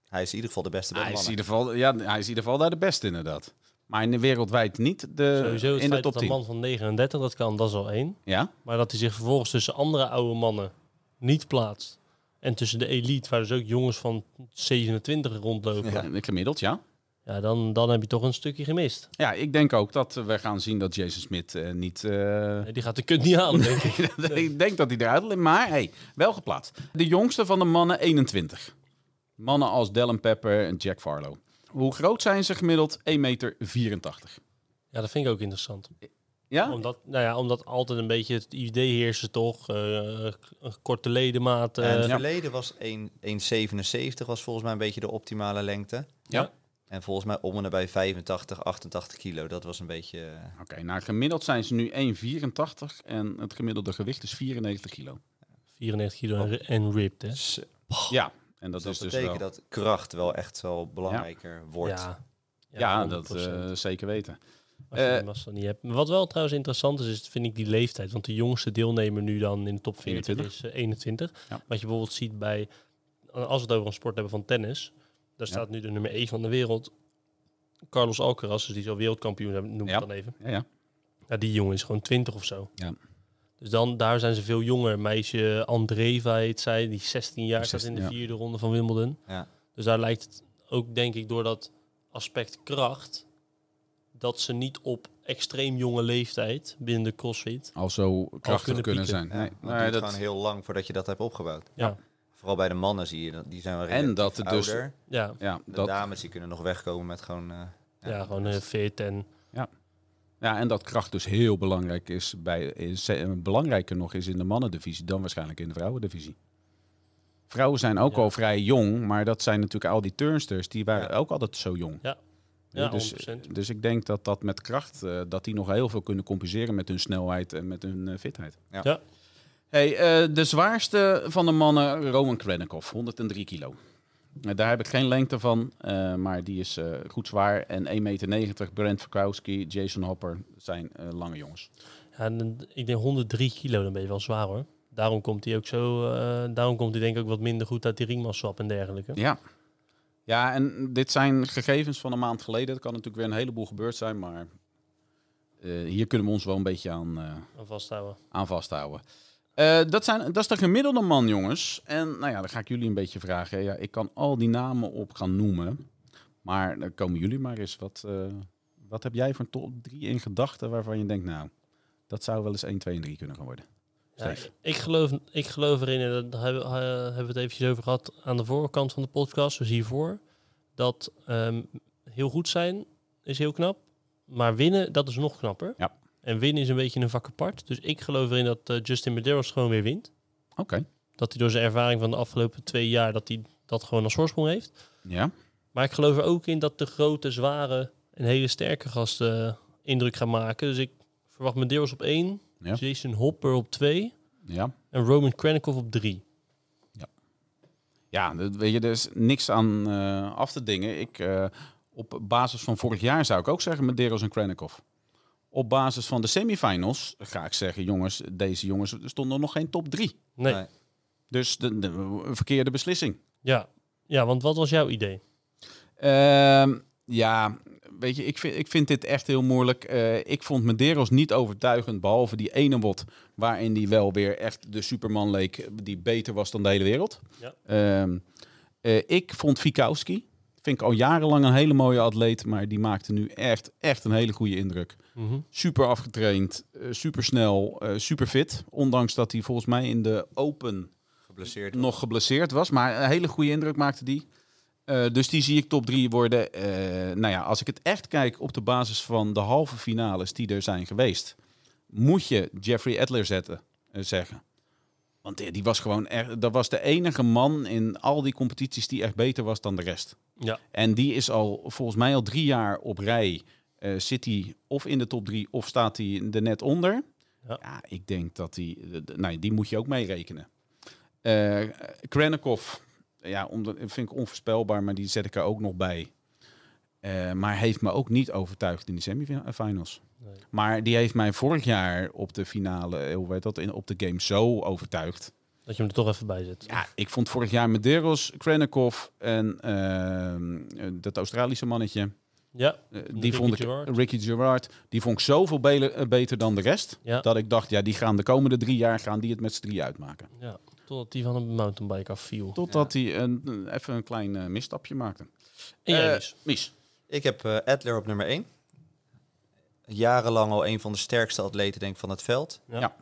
D: Hij is in ieder geval de beste bij de
B: Hij is, in
D: mannen.
B: ieder geval, ja, hij is in ieder geval daar de beste inderdaad. Maar in de wereldwijd niet de,
A: Sowieso het
B: Eh, in de
A: feit
B: top
A: dat een
B: 10.
A: man van 39 dat kan, dat is al één.
B: Ja?
A: Maar dat hij zich vervolgens tussen andere oude mannen niet plaatst. En tussen de elite, waar dus ook jongens van 27 rondlopen.
B: ja, gemiddeld ja.
A: Ja, Ja, dan, dan heb je toch een stukje gemist.
B: Ja, ik denk ook dat we gaan zien dat Jason Smith eh, niet... eh,
A: Nee, Die gaat de kut niet halen, denk ik.
B: ik denk dat hij eruit ligt, maar hey, wel geplaatst. De jongste van de mannen, 21. Mannen als Dallin Pepper en Jack Farlow. Hoe groot zijn ze gemiddeld? 1,84 meter.
A: Ja, dat vind ik ook interessant.
D: Oh.
B: Ja?
A: Omdat, nou ja, omdat altijd een beetje het idee heersen toch. eh, k- korte ledematen.
D: En het
A: eh,
D: verleden was 1 1,77 was volgens mij een beetje de optimale lengte.
B: Ja.
D: En volgens mij om en nabij 85, 88 kilo. Dat was een beetje... eh,
B: Oké, nou gemiddeld zijn ze nu 1,84 en het gemiddelde gewicht is 94 kilo.
A: 94
B: Oh.
A: kilo en ri- en ripped, hè?
D: Dus
B: Ja, en dat,
D: dat
B: is dus
D: betekent
B: wel...
D: dat kracht wel echt wel belangrijker wordt.
A: Ja,
B: ja, dat
A: 100%.
B: eh, zeker weten.
A: Als je
B: Eh,
A: die massa niet hebt. Maar wat wel trouwens interessant is, is, vind ik die leeftijd. Want de jongste deelnemer nu dan in de top 40 is eh, 21.
B: Ja.
A: Wat je bijvoorbeeld ziet bij, als we het over een sport hebben van tennis. Daar
B: Ja.
A: staat nu de nummer 1 van de wereld, Carlos Alcaraz. Dus die is al wereldkampioen, noem ik
B: Ja.
A: dan even.
B: Ja, ja.
A: Ja, die jongen is gewoon 20 of zo.
B: Ja.
A: Dus dan, daar zijn ze veel jonger. Meisje Andreeva heet zij, die 16 jaar staat in de
B: 16, ja.
A: vierde ronde van Wimbledon.
D: Ja.
A: Dus daar lijkt het ook, denk ik, door dat aspect kracht... dat ze niet op extreem jonge leeftijd binnen de crossfit...
B: Al zo krachtig kunnen,
A: kunnen pieken.
B: zijn.
D: Ja,
B: Nee,
D: want
B: maar
D: het duurt
B: dat-
D: gewoon heel lang voordat je dat hebt opgebouwd.
A: Ja.
D: Vooral bij de mannen zie je dat. Die zijn wel
B: En dat het dus-
D: ouder.
A: Ja,
B: ja,
D: De
B: dat,
D: dames die kunnen nog wegkomen met gewoon... eh,
A: ja, gewoon eh, fit en...
B: Ja, en dat kracht dus heel belangrijk is, bij, is eh, belangrijker nog is in de mannendivisie dan waarschijnlijk in de vrouwendivisie. Vrouwen zijn ook
A: Ja.
B: al vrij jong, maar dat zijn natuurlijk al die turnsters, die waren ook altijd zo jong.
A: Ja.
B: Ja,
A: Ja,
B: dus,
A: 100%.
B: dus ik denk dat dat met kracht, eh, dat die nog heel veel kunnen compenseren met hun snelheid en met hun eh, fitheid.
D: Ja.
A: Ja.
B: Hey, eh, de zwaarste van de mannen, Roman Krennikov, 103 kilo. Eh, daar heb ik geen lengte van, eh, maar die is eh, goed zwaar. En 1,90 meter, Brent Verkowski, Jason Hopper, zijn eh, lange jongens.
A: Ja, en dan- ik denk 103 kilo, dan ben je wel zwaar hoor. Daarom komt hij ook zo... eh, daarom komt hij denk ik ook wat minder goed uit die ringmasswap en dergelijke.
B: Ja. Ja, en dit zijn gegevens van een maand geleden. Er kan natuurlijk weer een heleboel gebeurd zijn, maar eh, hier kunnen we ons wel een beetje aan, eh,
A: Aan vasthouden.
B: aan vasthouden. Eh, dat, zijn, dat is de gemiddelde man, jongens. En nou ja, dan ga ik jullie een beetje vragen. Ja, ik kan al die namen op gaan noemen, maar dan komen jullie maar eens. Wat, eh, wat heb jij voor top 3 in gedachten waarvan je denkt, nou, dat zou wel eens 1, 2 en 3 kunnen gaan worden?
A: Ja,
B: Steef.
A: ik, geloof, ik geloof erin, en dat- daar hebben, eh, hebben we het eventjes over gehad aan de voorkant van de podcast, dus hiervoor, dat ehm, heel goed zijn is heel knap, maar winnen, dat is nog knapper.
B: Ja.
A: En winnen is een beetje een vak apart. Dus ik geloof erin dat eh, Justin Medeiros gewoon weer wint.
B: Oké.
A: Dat hij door zijn ervaring van de afgelopen twee jaar, dat hij dat gewoon als voorsprong heeft.
B: Ja.
A: Maar ik geloof er ook in dat de grote, zware en hele sterke gasten eh, indruk gaan maken. Dus ik verwacht Medeiros op één,
B: Ja.
A: Jason Hopper op twee
B: Ja.
A: en Roman Krennikov op drie.
B: Ja, dat, weet je, er is niks aan eh, af te dingen. Ik, eh, op basis van vorig jaar zou ik ook zeggen Medeiros en Krennikov. Op basis van de semifinals ga ik zeggen, jongens, deze jongens stonden nog geen top drie.
A: Nee.
D: Nee.
B: Dus de, de- een verkeerde beslissing.
A: Ja. ja, want wat was jouw idee?
B: Ehm, ja, weet je, ik vind, ik vind dit echt heel moeilijk. Eh, ik vond Medeiros niet overtuigend, behalve die ene wot waarin die wel weer echt de superman leek die beter was dan de hele wereld.
A: Ja.
B: Ehm, eh, ik vond Fikowski, vind ik al jarenlang een hele mooie atleet, maar die maakte nu echt, echt een hele goede indruk.
A: Mhm.
B: Super afgetraind, eh, super snel, eh, super fit. Ondanks dat hij volgens mij in de Open
D: Geblesseerd.
B: nog geblesseerd was. Maar een hele goede indruk maakte die. Eh, dus die zie ik top 3 worden. Eh, nou ja, als ik het echt kijk op de basis van de halve finales die er zijn geweest, moet je Jeffrey Adler zetten, eh, zeggen. Want die, die was gewoon echt, dat was de enige man in al die competities die echt beter was dan de rest.
A: Ja.
B: En die is al volgens mij al drie jaar op rij. eh, zit hij of in de top 3 of staat hij er net onder? Ja,
A: Ja.
B: ik denk dat die. eh, d- Nee, die moet je ook meerekenen. Eh Krennikov, ja, omdat, vind ik onvoorspelbaar, maar die zet ik er ook nog bij. Eh, maar heeft me ook niet overtuigd in die semifinals.
A: Nee.
B: Maar die heeft mij vorig jaar op de finale, eh, hoe weet dat, in, op de game zo overtuigd.
A: Dat je hem er toch even bij zet.
B: Ja, ik vond vorig jaar Medeiros, Krennikov en ehm, eh, dat Australische mannetje.
A: Ja,
B: eh, die
A: Ricky
B: vond ik,
A: Gerard.
B: Ricky Gerard, die vond ik zoveel bele- eh, beter dan de rest.
A: Ja.
B: Dat ik dacht, ja, die gaan de komende drie jaar gaan die het met z'n drie uitmaken.
A: ja. Totdat die van een mountainbike afviel.
B: Totdat hij een, even een klein eh, misstapje maakte.
A: En jij
B: Eh,
A: dus?
B: Mies.
D: Ik heb eh Adler op nummer 1. Jarenlang al een van de sterkste atleten denk ik, van het veld.
A: Ja.
B: Ja.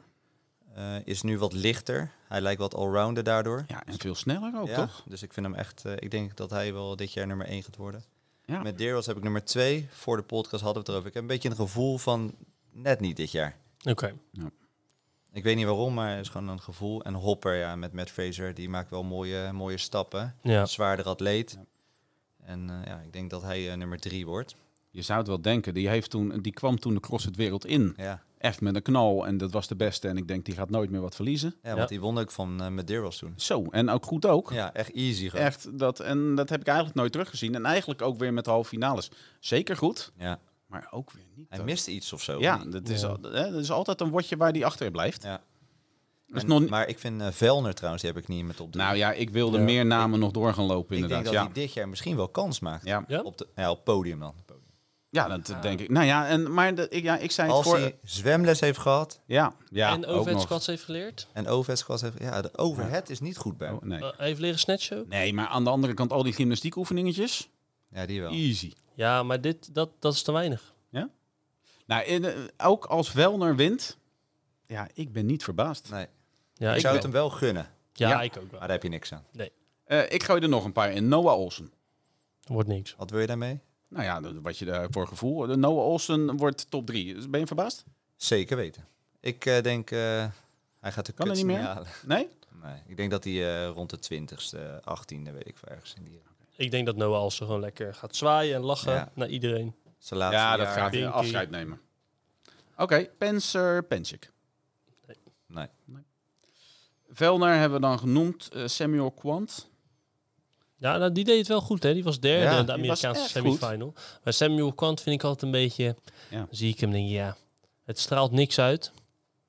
D: Eh, is nu wat lichter. Hij lijkt wat allrounder daardoor.
B: Ja, en veel sneller ook,
D: ja,
B: toch?
D: Dus ik vind hem echt. eh, ik denk dat hij wel dit jaar nummer 1 gaat worden.
B: Ja.
D: Met Deerwas heb ik nummer 2. Voor de podcast hadden we het erover. Ik heb een beetje een gevoel van net niet dit jaar.
A: Oké.
D: Ik weet niet waarom, maar het is gewoon een gevoel. En Hopper, ja, met Matt Fraser, die maakt wel mooie, mooie stappen.
A: Ja.
D: Zwaarder atleet. En eh, ja, ik denk dat hij eh, nummer 3 wordt.
B: Je zou het wel denken. Die, heeft toen, die kwam toen de CrossFit wereld in.
D: Ja.
B: Echt met een knal. En dat was de beste. En ik denk, die gaat nooit meer wat verliezen.
D: Ja, want die won ook van uh, Medeiros toen.
B: Zo, en ook goed ook.
D: Ja, echt easy gewoon.
B: Echt, dat, en dat heb ik eigenlijk nooit teruggezien. En eigenlijk ook weer met de halve finales. Zeker goed,
D: Ja.
B: maar ook weer niet.
D: Hij
B: dat-
D: mist iets of zo.
B: Ja, dat is,
A: Ja.
B: al- hè, dat is altijd een watje waar die achter blijft.
D: Ja.
B: Dat is
D: En-
B: nog niet-
D: Maar ik vind eh, Velner trouwens, die heb ik niet met op de
B: nou ja, ik wilde
A: Ja.
B: meer namen nog door gaan lopen
D: Ik denk
B: inderdaad.
D: dat
B: Ja.
D: hij dit jaar misschien wel kans maakt.
B: Ja.
A: Ja.
D: Op, de, ja, op podium dan.
B: ja, dat denk ik. Nou ja, en, maar dat, ik, ja, ik zei het
D: Als
B: voor...
D: hij zwemles heeft gehad
B: Ja, ja,
A: en
B: ook
A: overhead
B: nog.
A: squats heeft geleerd.
D: en overhead heeft... Ja, de overhead is niet goed bij hem.
B: Oh, nee.
A: Eh, Hij heeft leren snatchen ook.
B: nee, maar aan de andere kant al die gymnastiekoefeningetjes.
D: Ja, die wel.
B: Easy.
A: Ja, maar dit, dat, dat is te weinig.
B: Nou, en, eh, ook als Welner wint, ja, ik ben niet verbaasd.
D: Nee.
A: Ja,
D: ik
A: ik, wel.
D: zou het hem wel gunnen,
A: ja,
B: ja.
A: ik ook wel.
D: maar daar heb je niks aan.
B: Eh, ik gooi er nog een paar in. Noah Olsen.
A: Wordt niks.
D: Wat wil je daarmee?
B: Nou ja, dat- wat je daarvoor gevoel. De Noah Olsen wordt top 3. Ben je verbaasd?
D: Zeker weten. Ik eh, denk, eh, hij gaat de
B: Kan er
D: kuts
B: niet meer?
D: halen.
B: Nee?
D: Nee, ik denk dat hij eh, rond de 20ste, 18e, weet ik veel, ergens in die
A: Ik denk dat Noah Alsen gewoon lekker gaat zwaaien en lachen
D: Ja.
A: naar iedereen.
D: zijn laatste
B: ja, dat
D: jaar.
B: gaat hij
A: Pinky.
B: afscheid nemen. Oké, Penser Penchik.
D: Nee.
B: Velner hebben we dan genoemd. eh, Samuel Quant.
A: Ja, nou, die deed het wel goed, hè? Die was derde
D: Ja,
A: in de
B: die
A: Amerikaanse
B: was echt goed.
A: semifinal. Maar Samuel Kant vind ik altijd een beetje...
B: Ja.
A: Zie ik hem denk ik, ja, het straalt niks uit.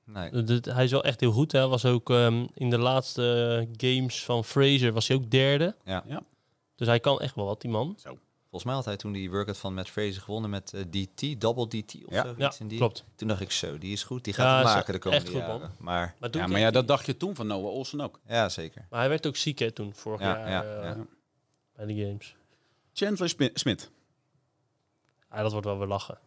D: Nee.
A: Dat- dat- hij is wel echt heel goed, hè? Was ook ehm, in de laatste games van Fraser was hij ook derde.
D: Ja.
B: Ja.
A: Dus hij kan echt wel wat, die man.
D: Volgens mij had hij toen die workout van Matt Fraser gewonnen met eh, DT, double DT of
B: Ja.
D: zo.
A: Ja,
D: iets in die.
A: klopt.
D: Toen dacht ik zo, die is goed, die
A: Ja,
D: gaat
A: is
D: het maken de komende
A: echt goed, man.
D: jaren. maar
A: Maar, doet
B: Ja,
A: hij
B: maar
A: echt
B: ja, dat
A: niet.
B: dacht je toen van Noah Olsen ook.
D: ja, zeker.
A: Maar hij werd ook ziek, hè, toen, vorig
D: Ja,
A: jaar
D: ja,
A: eh,
D: ja.
A: bij de games.
B: Chandler Smi- Smit.
A: Ja, dat wordt wel weer lachen.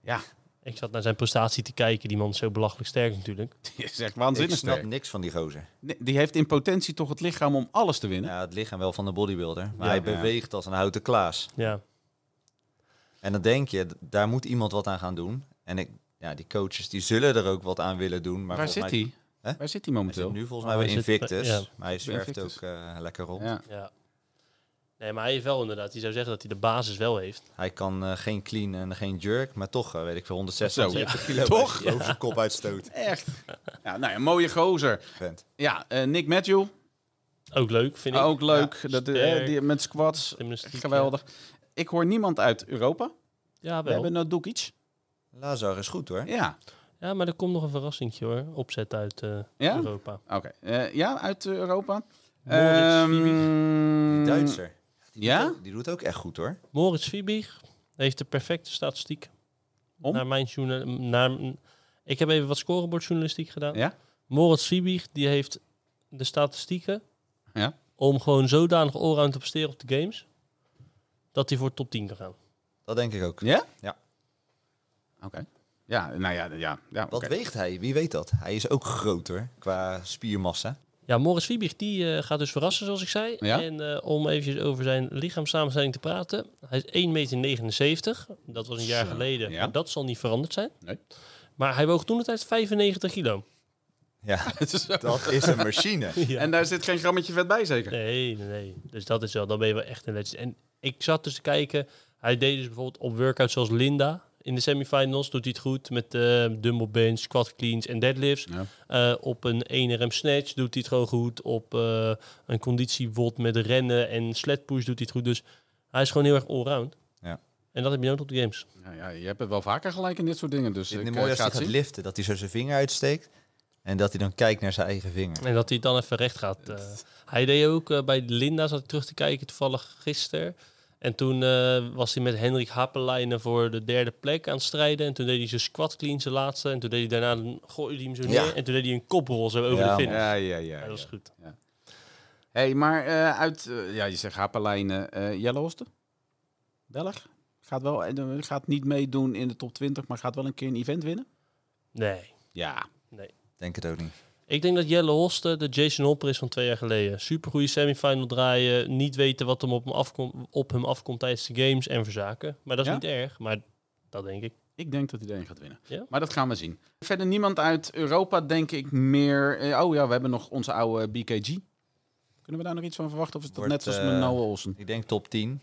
B: Ja.
A: Ik zat naar zijn prestatie te kijken. Die man is zo belachelijk sterk natuurlijk.
B: Die is echt
D: Ik
B: waanzinnig
D: snap
B: sterk.
D: niks van die gozer.
B: Nee, Die heeft in potentie toch het lichaam om alles te winnen.
D: Ja, het lichaam wel van de bodybuilder, maar
B: Ja.
D: hij beweegt als een houten klaas.
A: Ja.
D: En dan denk je, d- daar moet iemand wat aan gaan doen. En ik, ja, die coaches die zullen er ook wat aan willen doen. Maar
B: Waar
D: volgens
B: zit
D: mij-
B: hij?
D: Hè?
B: Waar zit hij
D: Hij
B: momenteel?
D: zit nu volgens
A: Oh,
D: mij bij
A: hij zit bij-
D: Invictus,
A: ja.
D: maar hij zwerft ook
B: Invictus.
D: eh, lekker rond.
B: Ja.
A: ja. Nee, maar hij heeft wel inderdaad... Je zou zeggen dat hij de basis wel heeft.
D: Hij kan eh, geen clean en geen jerk, maar toch, eh, weet ik veel, 126
B: Zo, ja.
D: kilo
B: Toch?
D: bij- boven zijn kop uitstoot.
B: Echt. Ja, nou ja, mooie gozer.
D: Vent.
B: Ja, eh, Nick Matthew.
A: Ook leuk, vind ik.
B: ook leuk. dat, eh,
A: Sterk.
B: die, met squats.
A: Gymnastiek,
B: Geweldig. Ik hoor niemand uit Europa.
A: Ja,
B: We
A: wel.
B: hebben eh, Nadukic.
D: Lazar is goed hoor.
B: Ja,
A: Ja, maar er komt nog een verrassingje hoor. Opzet uit eh,
B: Ja?
A: Europa.
B: oké. Eh, ja, uit eh, Europa.
A: Moritz, Fibi.
B: Ehm,
D: Die Duitser. Die
B: ja?
D: Doet ook, die doet ook echt goed hoor.
A: Moritz Fiebig heeft de perfecte statistiek.
B: Om?
A: Naar mijn journa- naar, ik heb even wat scorebordjournalistiek gedaan.
B: Ja?
A: Moritz Fiebig die heeft de statistieken
B: Ja.
A: om gewoon zodanig allround te presteren op de games dat hij voor top 10 kan gaan.
D: Dat denk ik ook.
B: Ja?
D: Ja.
B: Oké. Ja, nou ja, ja. ja
D: Wat
B: oké.
D: weegt hij? Wie weet dat? Hij is ook groter qua spiermassa.
A: Ja, Moritz Fiebig die eh, gaat dus verrassen zoals ik zei.
B: Ja.
A: En eh, om eventjes over zijn lichaamssamenstelling te praten. Hij is 1,79 meter. Dat was een jaar
B: Zo,
A: geleden.
B: ja.
A: Maar dat zal niet veranderd zijn.
B: Nee.
A: Maar hij woog toen de tijd 95 kilo.
D: Ja,
B: Het is zo.
D: dat is een machine.
A: Ja.
B: En daar zit geen grammetje vet bij zeker?
A: Nee, nee, nee. Dus dat is wel, dan ben je wel echt een legend. En ik zat dus te kijken, hij deed dus bijvoorbeeld op workouts zoals Linda. In de semifinals doet hij het goed met eh dumbbell bench, squat cleans en deadlifts.
B: Ja.
A: Eh, op een 1RM snatch doet hij het gewoon goed. Op eh, een conditiewot met rennen en sled push doet hij het goed. Dus hij is gewoon heel erg allround.
D: Ja.
A: En dat heb je nodig op de games.
B: Nou ja, je hebt het wel vaker gelijk in dit soort dingen. Dus
D: Het
B: ik,
D: is niet
B: eh,
D: mooi als
B: ga
D: hij
B: het
D: gaat
B: zien.
D: liften, dat hij zo zijn vinger uitsteekt. En dat hij dan kijkt naar zijn eigen vinger.
A: En dat hij het dan even recht gaat. eh. hij deed ook eh, bij Linda, zat ik terug te kijken, toevallig gisteren. En toen eh, was hij met Hendrik Happelijnen voor de derde plek aan het strijden. En toen deed hij zijn squat clean, zijn laatste. En toen deed hij daarna, een, gooide hij hem zo
D: Ja.
A: neer. En toen deed hij een koprol zo over
D: Ja,
A: de
D: man.
A: finish.
B: Ja, ja, ja.
A: Ja, dat is
B: ja.
A: goed.
B: Hey, maar eh, uit, eh, ja, je zegt Hapelijnen, eh Jelle Hoste? Belg? Gaat, wel, eh, gaat niet meedoen in de top 20, maar gaat wel een keer een event winnen.
A: Nee.
B: Ja,
D: Denk het ook niet.
A: Ik denk dat Jelle Hoste de Jason Hopper is van twee jaar geleden. Supergoeie semifinal draaien, niet weten wat hem op, hem afkom, op hem afkomt tijdens de games en verzaken. Maar dat is
B: Ja?
A: niet erg, maar dat denk ik.
B: ik denk dat iedereen gaat winnen.
A: Ja?
B: Maar dat gaan we zien. Verder niemand uit Europa, denk ik meer. eh, Oh ja, we hebben nog onze oude BKG. Kunnen we daar nog iets van verwachten? Of is dat
D: Wordt,
B: net zoals met
D: eh,
B: Noah Olsen?
D: Ik denk top 10.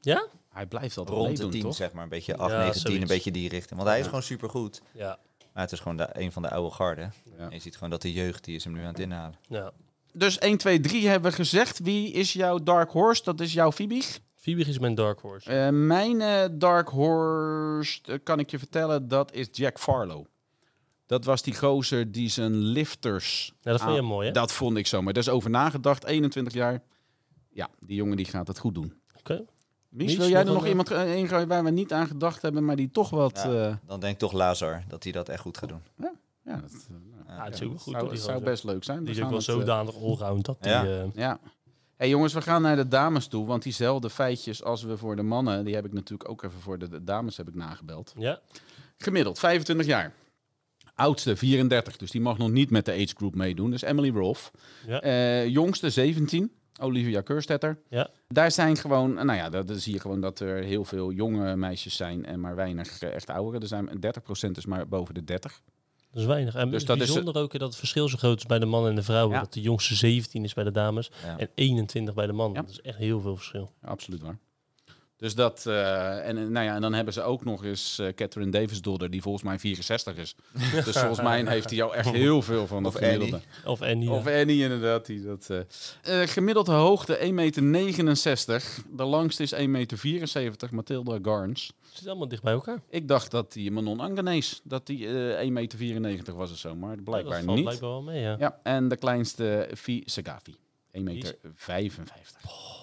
A: Ja?
B: Hij blijft altijd
D: rond de
B: meedoen,
D: 10,
B: toch?
D: zeg maar. Een beetje 8,
A: Ja,
D: 9, 10, een
A: zoiets.
D: beetje die richting. Want hij is
B: Ja.
D: gewoon supergoed.
A: Ja.
D: Maar het is gewoon de, een van de oude garden.
B: Ja.
D: En je ziet gewoon dat de jeugd die is hem nu aan het inhalen.
A: ja.
B: Dus 1, 2, 3 hebben we gezegd. Wie is jouw Dark Horse? Dat is jouw Fiebig.
A: Fiebig is mijn dark horse.
B: Eh, mijn eh, Dark Horse, eh, kan ik je vertellen, dat is Jack Farlow. Dat was die gozer die zijn lifters...
A: Ja, dat vond je
B: aan-
A: mooi, hè?
B: Dat vond ik zo, maar daar is over nagedacht. 21 jaar. Ja, die jongen die gaat het goed doen.
A: Oké.
B: Mies,
A: Mies,
B: wil jij
A: nog
B: er nog
A: een-
B: iemand eh, in gooien waar we niet aan gedacht hebben, maar die toch wat... eh,
D: Ja,
B: Ja,
D: Dan denk ik toch Lazar dat hij dat echt goed gaat doen.
B: dat, eh, nou,
A: Ja, het is
B: ja,
A: ook
B: dat
A: goed,
B: zou,
A: hoor, die
B: zou
A: gozer.
B: best leuk zijn.
A: Die
B: We
A: is ook
B: gaan
A: wel
B: het, eh,
A: zodanig allround dat die...
D: Ja.
A: eh,
B: Ja. hey jongens, we gaan naar de dames toe. Want diezelfde feitjes als we voor de mannen, die heb ik natuurlijk ook even voor de, de dames heb ik nagebeld.
A: ja?
B: Gemiddeld 25 jaar. Oudste 34, dus die mag nog niet met de age group meedoen. Dus Emily Rolf.
A: Ja.
B: Eh, jongste 17, Olivia Keurstetter.
A: Ja.
B: Daar zijn gewoon, nou ja, dat- dan zie je gewoon dat er heel veel jonge meisjes zijn en maar weinig eh, echt ouderen. Er zijn 30% is maar boven de 30.
A: Dat is weinig. En
B: Dus
A: het
B: dat is-
A: bijzonder ook eh, dat het verschil zo groot is bij de mannen en de vrouwen.
B: Ja.
A: Dat de jongste 17 is bij de dames
D: Ja.
A: en 21 bij de mannen.
B: Ja.
A: Dat is echt heel veel verschil.
B: Absoluut waar. Dus dat, eh, en, eh, nou ja, en dan hebben ze ook nog eens eh, Catherine Davis dodder, die volgens mij 64 is. dus volgens mij heeft hij jou echt heel veel van dat
D: Of
B: gemiddelde.
A: Of en
B: Of Annie inderdaad. Die dat, eh. Eh, gemiddelde hoogte 1,69 meter. De langste is 1,74 meter, Mathilda Garns.
A: Het zit allemaal dicht bij elkaar.
B: Ik dacht dat die Manon Angenees, dat die eh 1,94 meter was of zo, maar
A: Ja,
B: blijkbaar
A: dat valt
B: niet.
A: blijkbaar wel mee, ja.
B: Ja, en de kleinste Fi Sagafi, 1,55 meter.
A: Oh.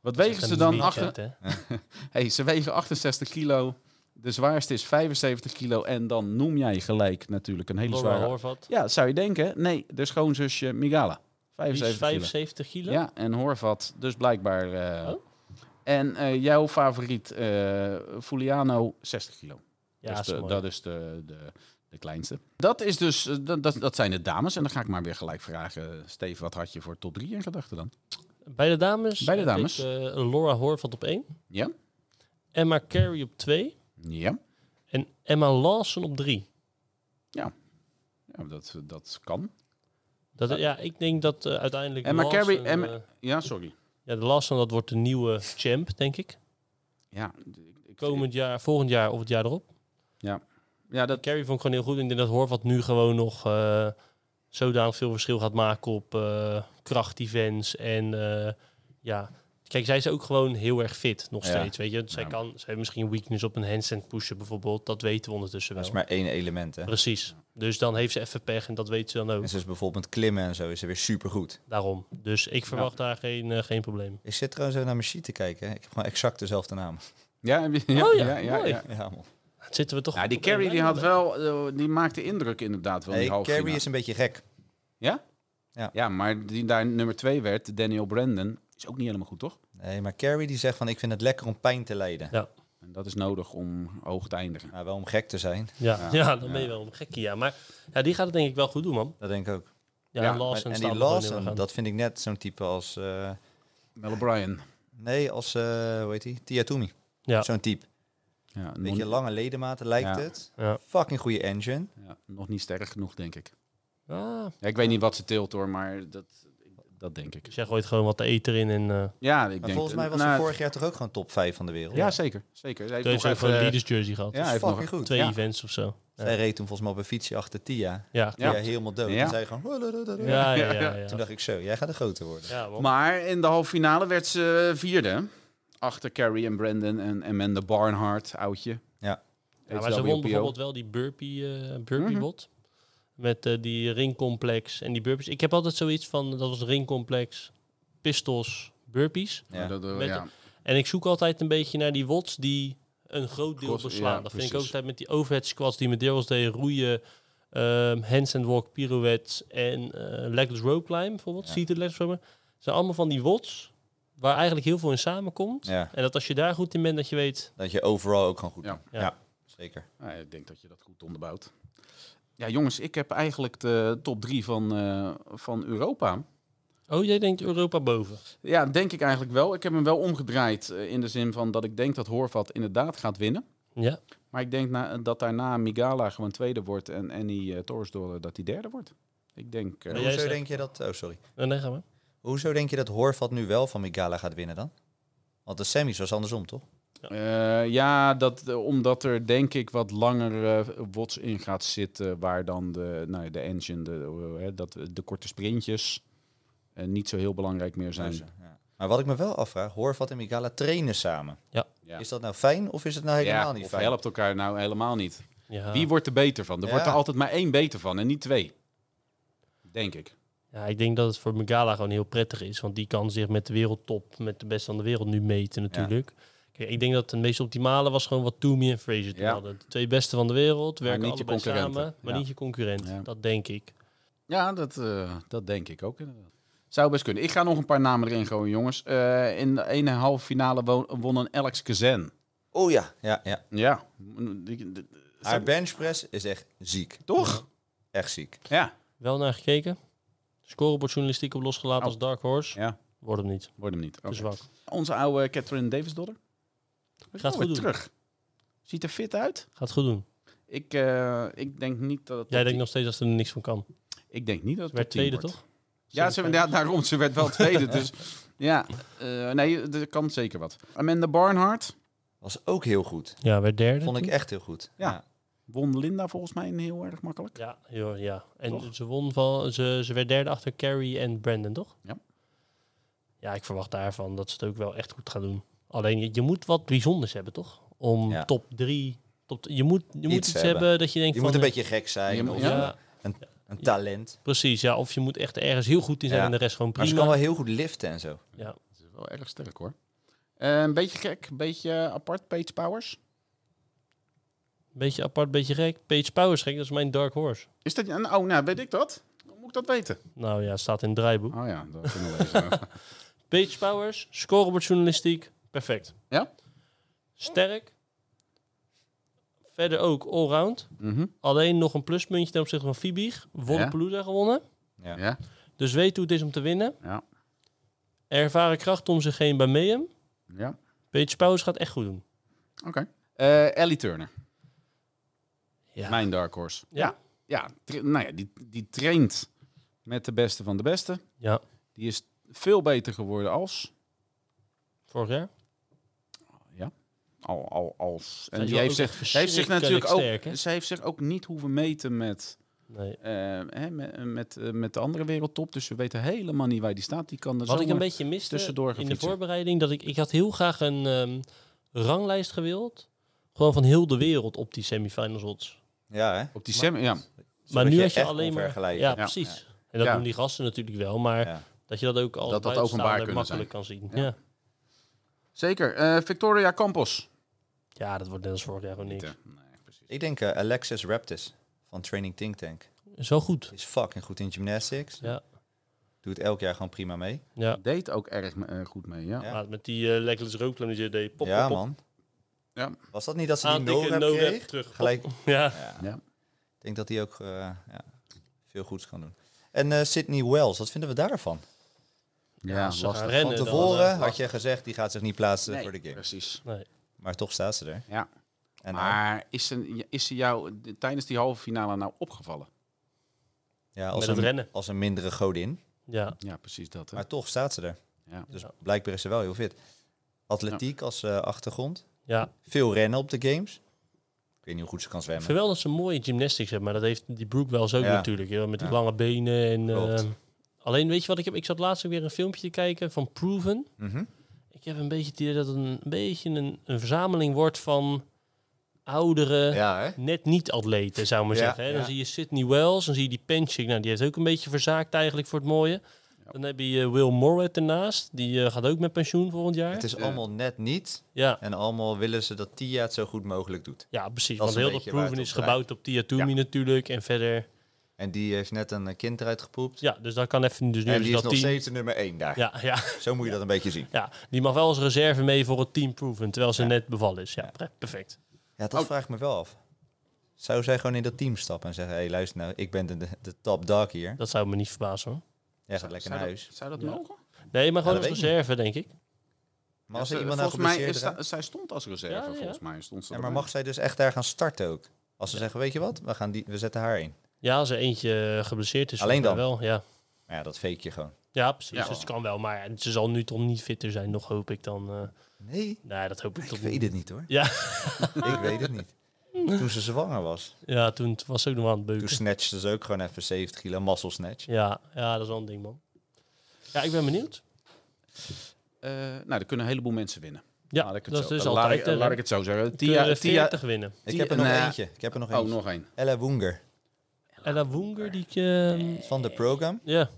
B: Wat wegen ze dan? Achter...
A: Achter...
B: Hey, ze wegen 68 kilo. De zwaarste is 75 kilo. En dan noem jij gelijk natuurlijk een hele
A: Laura
B: zware...
A: Horvat.
B: Ja, zou je denken. Nee, de schoonzusje Migala.
A: Die is
B: 75 kilo.
A: 75 kilo.
B: Ja, en Horvat. Dus blijkbaar... eh,
A: Oh.
B: En eh, jouw favoriet, eh Fuliano, 60 kilo.
A: Ja,
B: dus
A: is
B: de-
A: mooi.
B: dat is de, de, de kleinste. Dat, is dus, eh, dat, dat, dat zijn de dames. En dan ga ik maar weer gelijk vragen. Steve, wat had je voor top 3 in gedachten dan?
A: Bij de dames.
B: Bij de
A: heb
B: dames.
A: ik, eh, Laura Horvat op 1.
B: Ja.
A: Emma Carey op 2.
B: Ja,
A: En Emma Lawson op 3.
B: ja dat, dat kan.
A: Dat, ja. ik denk dat eh, uiteindelijk.
B: Emma
A: Lawson,
B: Carey- Emma-
A: eh,
B: Ja, sorry.
A: ja, de Lawson, dat wordt de nieuwe champ, denk ik.
B: Ja, d- ik- ik-
A: Komend jaar, volgend jaar of het jaar erop.
B: ja dat,
A: Carey vond ik gewoon heel goed. Ik denk dat Horvat nu gewoon nog eh, zodanig veel verschil gaat maken op eh krachtevents. En eh, ja, kijk, zij is ook gewoon heel erg fit nog
D: Ja.
A: steeds. Weet je, zij
B: Ja.
A: kan, zij heeft misschien weakness op een handstand pushen bijvoorbeeld. Dat weten we ondertussen
D: Dat is
A: wel.
D: maar één element, hè.
A: Precies. Dus dan heeft ze even pech en dat weet ze dan ook.
D: En ze is bijvoorbeeld met klimmen en zo is ze weer supergoed.
A: Daarom. Dus ik verwacht daar geen, eh, geen probleem.
D: Ik zit trouwens even naar mijn sheet te kijken. hè. Ik heb gewoon exact dezelfde naam.
B: ja, heb je- ja,
A: Oh
B: ja,
A: ja,
B: ja, ja,
A: mooi.
D: Ja, man.
A: Het zitten we toch.
B: Ja, die
A: op één
B: Carrie die
A: lijn
B: had
A: dan,
B: wel, eh, die maakte indruk inderdaad wel.
D: Hey,
B: die halve
D: Carrie
B: finale.
D: is een beetje gek.
B: Ja, maar die daar nummer twee werd, Daniel Brandon, is ook niet helemaal goed, toch?
D: Nee, maar Carrie die zegt van ik vind het lekker om pijn te lijden.
B: En dat is nodig om hoog te eindigen.
D: Maar wel om gek te zijn.
A: hè? Ja,
B: Ja.
A: ja, dan
B: Ja.
A: ben je wel een gekkie. Ja. Maar ja, die gaat het denk ik wel goed doen, man.
D: Dat denk ik ook.
A: Ja,
B: Ja,
A: en
D: Maar-
A: Lawson
D: en
A: staat
D: die
A: er gewoon heel erg
D: Lawson,
A: aan.
D: dat vind ik net zo'n type als... eh,
B: Mel O'Brien.
D: nee, als... eh hoe heet die? Tiatumi.
A: Ja.
D: Zo'n type.
B: Ja, nog,
D: Beetje lange ledematen lijkt
B: Ja.
D: het.
A: Ja.
D: Fucking goede engine.
B: ja, nog niet sterk genoeg, denk ik.
A: Ah,
B: Ja, ik weet niet wat ze teelt hoor, maar dat, dat denk ik.
A: dus jij gooit gewoon wat te eten in en eh
B: Ja, ik
D: Maar
B: denk...
D: volgens mij was
B: nou,
D: ze vorig jaar toch ook gewoon top 5 van de wereld.
B: Ja, zeker. zeker. Ze heeft
A: Teun
B: nog
A: heeft
B: even,
A: gewoon dus- een
B: eh,
A: leaders jersey gehad.
B: ja, hij
D: Ja,
B: heeft
D: fucking
B: nog-
D: goed.
A: Twee
B: ja.
A: events of zo. Ja,
D: Zij reed toen volgens mij op een fietsje achter Tia.
A: ja,
B: Ja.
D: Ja,
A: klopt.
D: helemaal dood.
B: Ja.
D: En zij gewoon...
A: Ja, ja, ja.
B: Ja,
A: ja,
D: Toen dacht ik zo, jij gaat de grote worden.
A: Ja, man.
B: Maar in de halve finale werd ze eh, vierde. Achter Carrie en Brandon en Amanda Barnhart, oudje.
D: Ja.
A: Ja, maar ze won bijvoorbeeld wel die burpee, eh burpee
B: Mhm.
A: bot. Met eh, die ringcomplex en die burpees. Ik heb altijd zoiets van, dat was ringcomplex, pistols, burpees.
D: Ja.
B: eh,
A: Met- En ik zoek altijd een beetje naar die wots die een groot deel
B: Cross-
A: beslaan.
B: ja,
A: dat vind
B: precies.
A: ik ook altijd met die overhead squats die met deels deed. Roeien, ehm hands and walk, pirouettes en eh legless rope climb bijvoorbeeld.
D: Ja.
A: Seated legless rope climb. zijn allemaal van die wots waar eigenlijk heel veel in samenkomt.
D: Ja,
A: En dat als je daar goed in bent, dat je weet...
D: dat je overal ook gewoon goed
B: Ja.
D: doet.
A: Ja.
D: Ja. zeker.
B: Nou, ik denk dat je dat goed onderbouwt. Ja, jongens, ik heb eigenlijk de top drie van, eh, van Europa.
A: Oh, jij denkt Europa boven.
B: Ja, denk ik eigenlijk wel. Ik heb hem wel omgedraaid eh, in de zin van dat ik denk dat Horvat inderdaad gaat winnen.
A: Ja.
B: Maar ik denk na, dat daarna Migala gewoon tweede wordt en Annie eh, Torresdorre dat hij derde wordt. Ik denk... eh,
A: Maar jij
D: Hoezo
A: zei-
D: denk je dat... Oh, sorry.
A: En daar gaan we.
D: Hoezo denk je dat Horvat nu wel van Migala gaat winnen dan? Want de semis was andersom, toch?
B: Eh, ja, dat, eh, omdat er denk ik wat langer eh wots in gaat zitten. Waar dan de, nou, de engine, de, eh, dat, de korte sprintjes eh, niet zo heel belangrijk meer zijn.
D: Zo, Ja. Maar wat ik me wel afvraag, Horvat en Migala trainen samen.
B: Ja.
D: Is dat nou fijn of is het nou helemaal niet
B: of
D: fijn?
B: helpt elkaar nou helemaal niet.
A: Ja.
B: Wie wordt er beter van? Er
D: Ja.
B: wordt er altijd maar één beter van en niet twee. Denk ik.
A: ja, ik denk dat het voor Megala gewoon heel prettig is. Want die kan zich met de wereldtop, met de beste van de wereld nu meten natuurlijk. Kijk, ik denk dat het meest optimale was gewoon wat Toomey en Fraser
B: Ja.
A: hadden. De twee beste van de wereld,
B: Maar
A: werken
B: niet je
A: allebei
B: concurrenten.
A: samen. Maar
B: Ja.
A: niet je concurrent,
B: Ja.
A: dat denk ik.
B: Ja, dat, eh, dat denk ik ook inderdaad. Zou best kunnen. Ik ga nog een paar namen erin gooien, jongens. Eh, in de ene halve finale wo- won een Alex Kazan.
D: Oh ja. ja, ja.
B: Ja. Mm, die- die-
D: Haar benchpress is echt ziek.
B: Toch?
D: Echt ziek.
B: Ja.
A: Wel naar gekeken. Scorebord journalistiek op losgelaten
B: Oh.
A: als Dark Horse.
B: Ja,
A: Wordt hem niet.
B: wordt hem niet.
A: Te
B: Oké.
A: zwak.
B: Dus Onze oude Catherine Davis-dotter. Is
A: Gaat
B: wel
A: goed
B: weer
A: doen.
B: terug. Ziet er fit uit.
A: Gaat goed doen.
B: Ik, eh, ik denk niet dat het...
A: Jij
B: top
A: denkt nog steeds dat ze er niks van kan.
B: tien- Ik denk niet dat het
A: Werd
B: top tien
A: tweede,
B: wordt.
A: toch?
B: Ja, ze, ja, daarom. Ze werd wel tweede. dus ja, eh, nee, er kan zeker wat. Amanda Barnhart
D: Was ook heel goed.
A: Ja, werd derde.
D: Vond ik
A: toen.
D: echt heel goed.
B: Ja. won Linda volgens mij heel erg makkelijk.
A: Ja, joh, ja. En
B: Toch?
A: ze won van, ze, ze werd derde achter Carrie en Brandon, toch?
B: Ja.
A: Ja, ik verwacht daarvan dat ze het ook wel echt goed gaan doen. Alleen je, je moet wat bijzonders hebben, toch? Om
D: Ja.
A: top drie. Top, je moet, je moet
D: Iets
A: iets hebben.
D: hebben.
A: dat je denkt
D: Je
A: van. eh,
D: moet een beetje gek zijn.
B: Je moet-
D: of
A: ja,
B: Ja.
D: Een talent.
A: precies. Ja, of je moet echt ergens heel goed in zijn
D: Ja.
A: en de rest gewoon
D: Maar
A: prima.
D: ze kan wel heel goed liften en zo.
B: Dat is wel erg sterk hoor. Eh, een beetje gek, een beetje eh, apart, Paige Powers.
A: Beetje apart, beetje gek. Paige Powers gek, dat is mijn dark horse.
B: Is dat... Oh, nou, weet ik dat? Hoe moet ik dat weten?
A: Nou ja, staat in het draaiboek.
B: Oh ja, dat kunnen we lezen.
A: Paige Powers, scorebordjournalistiek, perfect.
B: Ja?
A: Sterk. Verder ook allround.
B: Mhm,
A: Alleen nog een pluspuntje ten opzichte van Fibig. Wodepalooza gewonnen.
D: Ja.
B: Ja.
A: Dus weet hoe het is om te winnen.
B: Ja.
A: Ervaren kracht om zich heen bij Mayhem.
B: Ja,
A: Paige Powers gaat echt goed doen.
B: oké. Eh, Ellie Turner,
A: Ja.
B: mijn dark horse.
A: Ja.
B: Ja, ja, tra- nou ja die, die traint met de beste van de beste.
A: Ja.
B: Die is veel beter geworden als...
A: Vorig jaar.
B: Al, al, als.
A: Zij
B: En
A: is
B: die
A: wel
B: heeft
A: ook
B: zich,
A: echt
B: zij heeft zich natuurlijk ook.
A: sterk, hè?
B: zij heeft zich ook niet hoeven meten met,
A: Nee.
B: eh, hè, met, met, eh, met de andere wereldtop. Dus we weten helemaal niet waar die staat. Die kan er
A: Wat ik een
B: zomaar-
A: beetje miste
B: tussendoor gaan
A: in de
B: fietsen.
A: voorbereiding, dat ik, ik had heel graag een ehm, ranglijst gewild. Gewoon van heel de wereld op die semifinals odds.
D: Ja, hè?
B: Op die sem. Ja,
A: Maar
D: Zodat
A: nu had je
D: echt
A: alleen
D: kon
A: maar... Ja,
D: vergelijken.
A: precies. En dat
B: Ja.
A: doen die gasten natuurlijk wel, maar
D: Ja.
A: dat je dat ook als
B: Dat dat
A: buitenstaander
B: openbaar kunnen
A: makkelijk kan zien. Ja. Ja.
B: zeker. Eh, Victoria Campos.
A: dat wordt net als vorig jaar gewoon niks.
B: Niet, hè? Nee, precies.
D: Ik denk eh, Alexis Raptis van Training Think Tank.
A: Is wel goed.
D: Is fucking goed in gymnastics.
A: Ja.
D: Doet elk jaar gewoon prima mee.
A: Ja.
B: Deed ook erg eh, goed mee. Ja.
D: Ja.
A: Maar met die eh Legless Rooklam die ze deed. Pop,
D: ja,
A: pop, pop.
D: man.
B: Ja.
D: Was dat niet dat ze die
A: Aantikken,
D: no-rap
A: no-rap,
D: kreeg?
A: terug, pop.
D: Gelijk.
A: Ja.
D: Ja.
B: Ja.
D: Ik denk dat hij ook eh, ja, veel goeds kan doen. En eh, Sydney Wells, wat vinden we daarvan?
B: Ja,
A: ze
B: lastig.
A: gaan rennen.
D: Van
A: dan,
D: tevoren
A: eh,
D: had je gezegd, die gaat zich niet plaatsen
B: Nee,
D: eh, voor de game.
B: Precies.
A: Nee.
D: Maar toch staat ze er.
B: Ja.
D: En
B: Maar is ze, is ze jou tijdens die halve finale nou opgevallen?
D: ja, als,
A: Met het
D: een,
A: rennen.
D: als een mindere godin.
A: Ja.
B: Ja, precies dat. Hè?
D: Maar toch staat ze er.
B: Ja.
D: Dus
A: Ja.
D: blijkbaar is ze wel heel fit. Atletiek als eh, achtergrond.
A: ja.
D: Veel rennen op de games. Ik weet niet hoe goed ze kan
A: Ik
D: zwemmen.
A: vind wel dat ze mooie gymnastics hebben, maar dat heeft die Brooke wel zo
D: Ja.
A: natuurlijk. Joh, met die
D: Ja.
A: lange benen. En,
D: Klopt.
A: eh, alleen weet je wat ik heb? Ik zat laatst ook weer een filmpje te kijken van Proven.
D: Mhm.
A: Ik heb een beetje het idee dat het een beetje een, een verzameling wordt van oudere,
D: Ja, hè?
A: net niet-atleten, zou ik maar
D: Ja,
A: zeggen. Hè? Dan
D: ja.
A: zie je Sydney Wells, dan zie je die Penchik. Nou, die heeft ook een beetje verzaakt eigenlijk voor het mooie. Dan heb je eh, Will Morret ernaast. Die eh, gaat ook met pensioen volgend jaar.
D: Het is
B: Ja.
D: allemaal net niet.
A: Ja.
D: En allemaal willen ze dat Tia het zo goed mogelijk doet.
A: ja, precies.
D: Dat
A: Want
D: is een
A: heel dat
D: beetje waar
A: proeven
D: het
A: is
D: op
A: gebouwd op Tiatumi natuurlijk. En verder
D: En die heeft net een eh, kind eruit gepoept.
A: Ja, dus dat kan even. Dus nu
D: en
A: hebben
D: die
A: ze
D: is
A: dat
D: nog
A: team.
D: steeds de nummer 1 daar.
A: Ja, ja,
D: Zo moet je dat een beetje zien.
A: ja, die mag wel als reserve mee voor het team proeven, terwijl ze
D: Ja.
A: net bevallen is. Ja, pre- perfect.
D: Ja,
B: Oh.
D: dat vraag ik me wel af. Zou zij gewoon in dat team stappen en zeggen... hey, luister nou, ik ben de, de, de top dog hier.
A: Dat zou me niet verbazen hoor.
D: Jij gaat lekker naar huis.
B: Zou dat
A: Ja.
B: mogen?
A: Nee, maar gewoon
D: dat
A: als
D: weet ik
A: reserve, denk ik.
D: Maar als
B: Ja,
D: er
B: ze-
D: iemand nou
B: volgens mij
D: geblesseerd
B: is
D: raakt...
B: dat- zij stond als reserve,
A: Ja, ja.
B: volgens mij. Stond ze
D: Ja, maar
B: erbij.
D: mag zij dus echt daar gaan starten ook? Als ze zeggen, weet je wat, we, gaan die, we zetten haar in.
A: Ja, als er eentje eh, geblesseerd is.
D: Alleen
A: volgens mij Wel, ja.
D: Maar ja, dat fake je gewoon.
A: ja, precies.
B: Ja.
A: Dus het kan wel. Maar ze zal nu toch niet fitter zijn, nog hoop ik dan. eh
D: Nee,
A: nee, dat hoop ik,
D: ik
A: toch
D: weet
A: niet.
D: het niet hoor.
A: Ja.
D: ik weet het niet. Toen ze zwanger was,
A: Ja, toen was ze ook nog aan het
D: toen
A: beuken.
D: snatchte ze ook gewoon even 70 kilo muscle snatch.
A: Ja, ja, dat is wel een ding, man. Ja, ik ben benieuwd.
B: Eh, nou, er kunnen een heleboel mensen winnen.
A: Ja,
B: Laat ik het
A: dat
B: Nou, zo-
A: is
B: laat
A: altijd.
B: ik-
D: eh,
A: hè.
B: laat ik het zo zeggen.
A: Kunnen
B: Tia,
A: er
B: Tia,
A: 40 winnen.
D: Ik
B: Die-
D: heb er nog
B: nou,
D: eentje. Ik heb er nog
B: oh,
D: eentje.
B: nog één.
D: Ella Woenger
A: Ella Woenger, die... ik, ehm,
D: van de program.
A: ja,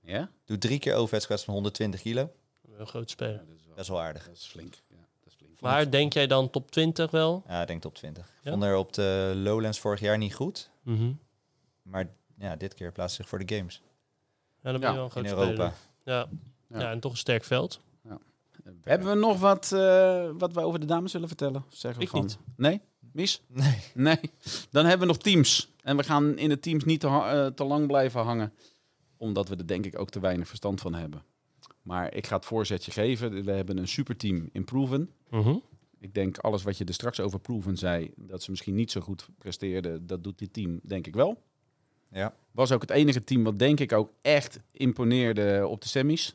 B: Ja?
D: Doet drie keer overheidskwets van 120 kilo.
A: een groot speler.
B: dat, is wel,
D: Dat is wel aardig.
B: dat is flink. Ja, dat is flink.
A: Maar denk jij dan top 20 wel?
D: Ja, ik denk top 20. Ik
A: Ja?
D: Vond haar op de Lowlands vorig jaar niet goed.
A: Mhm.
D: Maar ja, dit keer plaatst ze zich voor de Games
A: Ja, dan ben je
B: Ja,
A: wel een groot
D: in
A: speler.
D: Europa.
A: Ja.
B: Ja.
A: Ja. en toch een sterk veld. Eh,
B: Hebben we nog wat, eh, wat wij over de dames willen vertellen? Zeggen we
A: Ik
B: van...
A: niet.
B: Nee? Mis?
D: Nee.
B: Nee. Dan hebben we nog teams. En we gaan in de teams niet te, ha- eh, te lang blijven hangen. Omdat we er denk ik ook te weinig verstand van hebben. Maar ik ga het voorzetje geven. We hebben een superteam in Proven.
A: Mhm.
B: Ik denk alles wat je er straks over Proven zei... dat ze misschien niet zo goed presteerden... dat doet dit team denk ik wel.
D: Ja.
B: Was ook het enige team wat denk ik ook echt imponeerde op de semis.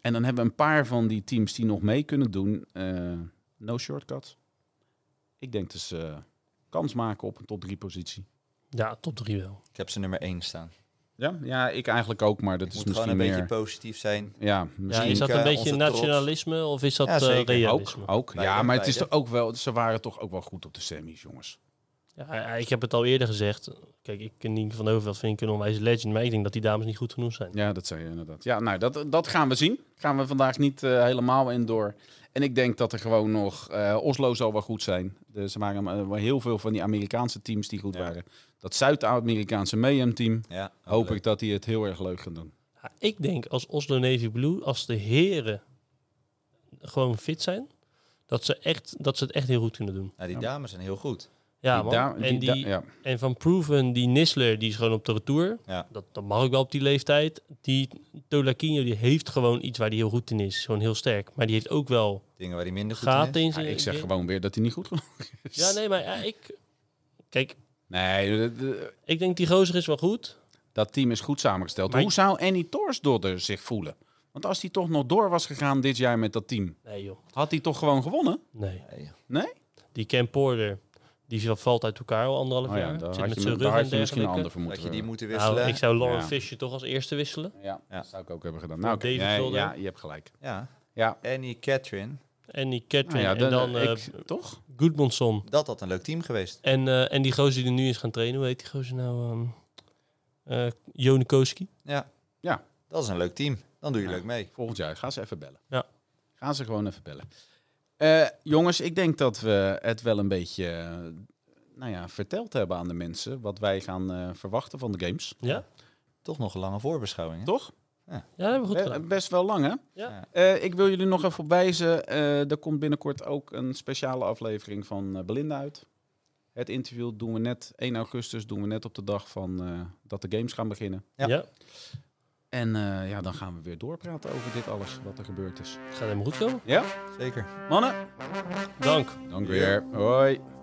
B: En dan hebben we een paar van die teams die nog mee kunnen doen. eh, no shortcuts. Ik denk dus eh, kans maken op een top 3 positie.
A: Ja, top 3 wel.
D: Ik heb ze nummer 1 staan.
B: Ja, ja ik eigenlijk ook, maar dat
D: Het
B: is
D: moet gewoon
B: misschien
D: een
B: meer...
D: beetje positief zijn.
B: ja,
A: Ja,
B: misschien
A: is dat
D: eh,
A: een beetje
D: onze trots.
A: nationalisme of is dat
D: Ja,
A: eh,
D: zeker.
A: realisme?
B: ook. ook.
D: Beide,
B: Ja, maar het is
D: beide.
B: toch ook wel... Ze waren toch ook wel goed op de semis, jongens.
A: Ja, Eh, ik heb het al eerder gezegd. Kijk, ik ken Nienke van Overveld vind ik een onwijs legend, maar ik denk dat die dames niet goed genoeg zijn.
B: Ja, dat zei je inderdaad. Ja, nou, dat, dat gaan we zien. Gaan we vandaag niet eh, helemaal in door. En ik denk dat er gewoon nog... eh, Oslo zal wel goed zijn. Er ze waren eh, wel heel veel van die Amerikaanse teams die goed
D: Ja.
B: waren. Dat Zuid-Amerikaanse Mayhem-team...
D: Ja,
B: hoop
D: leuk.
B: ik dat die het heel erg leuk gaan doen.
A: Ja, ik denk als Oslo Navy Blue, als de heren gewoon fit zijn, dat ze, echt, dat ze het echt heel goed kunnen doen.
D: Ja, Nou, die dames zijn heel goed.
A: Ja,
B: Die
A: man.
B: da-
A: en,
B: die da-
A: die,
B: ja.
A: en van Proven, die Nisler, die is gewoon op de retour.
D: Ja.
A: Dat, dat mag ook wel op die leeftijd. Die Tolakino, die heeft gewoon iets waar die heel goed in is. Gewoon heel sterk. Maar die heeft ook wel
D: Dingen waar die minder goed in is.
A: gaten in
B: Ja,
A: zijn.
B: ik zeg gewoon weer dat hij niet goed genoeg is.
A: Ja, nee, maar ja, ik... Kijk,
B: Nee, de- de-
A: ik denk die gozer is wel goed.
B: dat team is goed samengesteld.
A: Maar-
B: Hoe zou Annie Torsdodder zich voelen? Want als hij toch nog door was gegaan dit jaar met dat team,
A: Nee, joh.
B: had hij toch gewoon gewonnen?
A: Nee.
D: Nee.
B: Nee?
A: Die Cam Porter, die valt uit elkaar al anderhalf
B: Oh ja,
A: jaar.
B: daar
A: Zit met
B: had je, me-
A: zijn
B: daar
A: rug
B: had
A: en
B: je misschien een ander
A: dergelijke.
B: voor moeten eh,
D: Dat je die moeten
A: Nou,
D: wisselen.
A: ik zou Lauren
B: Ja.
A: Fisher toch als eerste wisselen.
B: Ja,
D: Ja.
B: dat zou ik ook hebben gedaan. Nou, oké.
A: David
B: Nee,
A: Wilder.
B: ja, je hebt gelijk.
D: Ja.
B: Ja.
D: Annie Catherine.
A: En die Catherine.
B: Nou ja,
A: en dan eh
B: ik- toch?
A: Goodmanson.
D: Dat had een leuk team geweest.
A: En, eh, en die gozer die er nu is gaan trainen. Hoe heet die gozer nou? ehm eh, Jone Koski.
D: Ja.
B: Ja.
D: Dat is een leuk team. Dan doe je
B: Ja.
D: leuk mee.
B: Volgend jaar. Ga ze even bellen.
A: Ja.
B: Ga ze gewoon even bellen. Eh, jongens, ik denk dat we het wel een beetje eh, nou ja, verteld hebben aan de mensen. Wat wij gaan eh, verwachten van de games.
A: Ja?
D: Toch nog een lange voorbeschouwing. hè?
B: Toch?
A: Ja, dat hebben we goed
B: Eh,
A: gedaan.
B: Best wel lang, hè?
A: Ja.
B: Eh, ik wil jullie nog even op wijzen. eh, er komt binnenkort ook een speciale aflevering van eh, Belinda uit. Het interview doen we net 1 augustus, doen we net op de dag van eh, dat de games gaan beginnen.
D: Ja.
A: Ja.
B: En eh, ja, dan gaan we weer doorpraten over dit alles wat er gebeurd is.
A: gaat helemaal goed komen.
B: Ja,
D: Zeker.
B: mannen,
A: Dank.
B: dank weer. Hoi.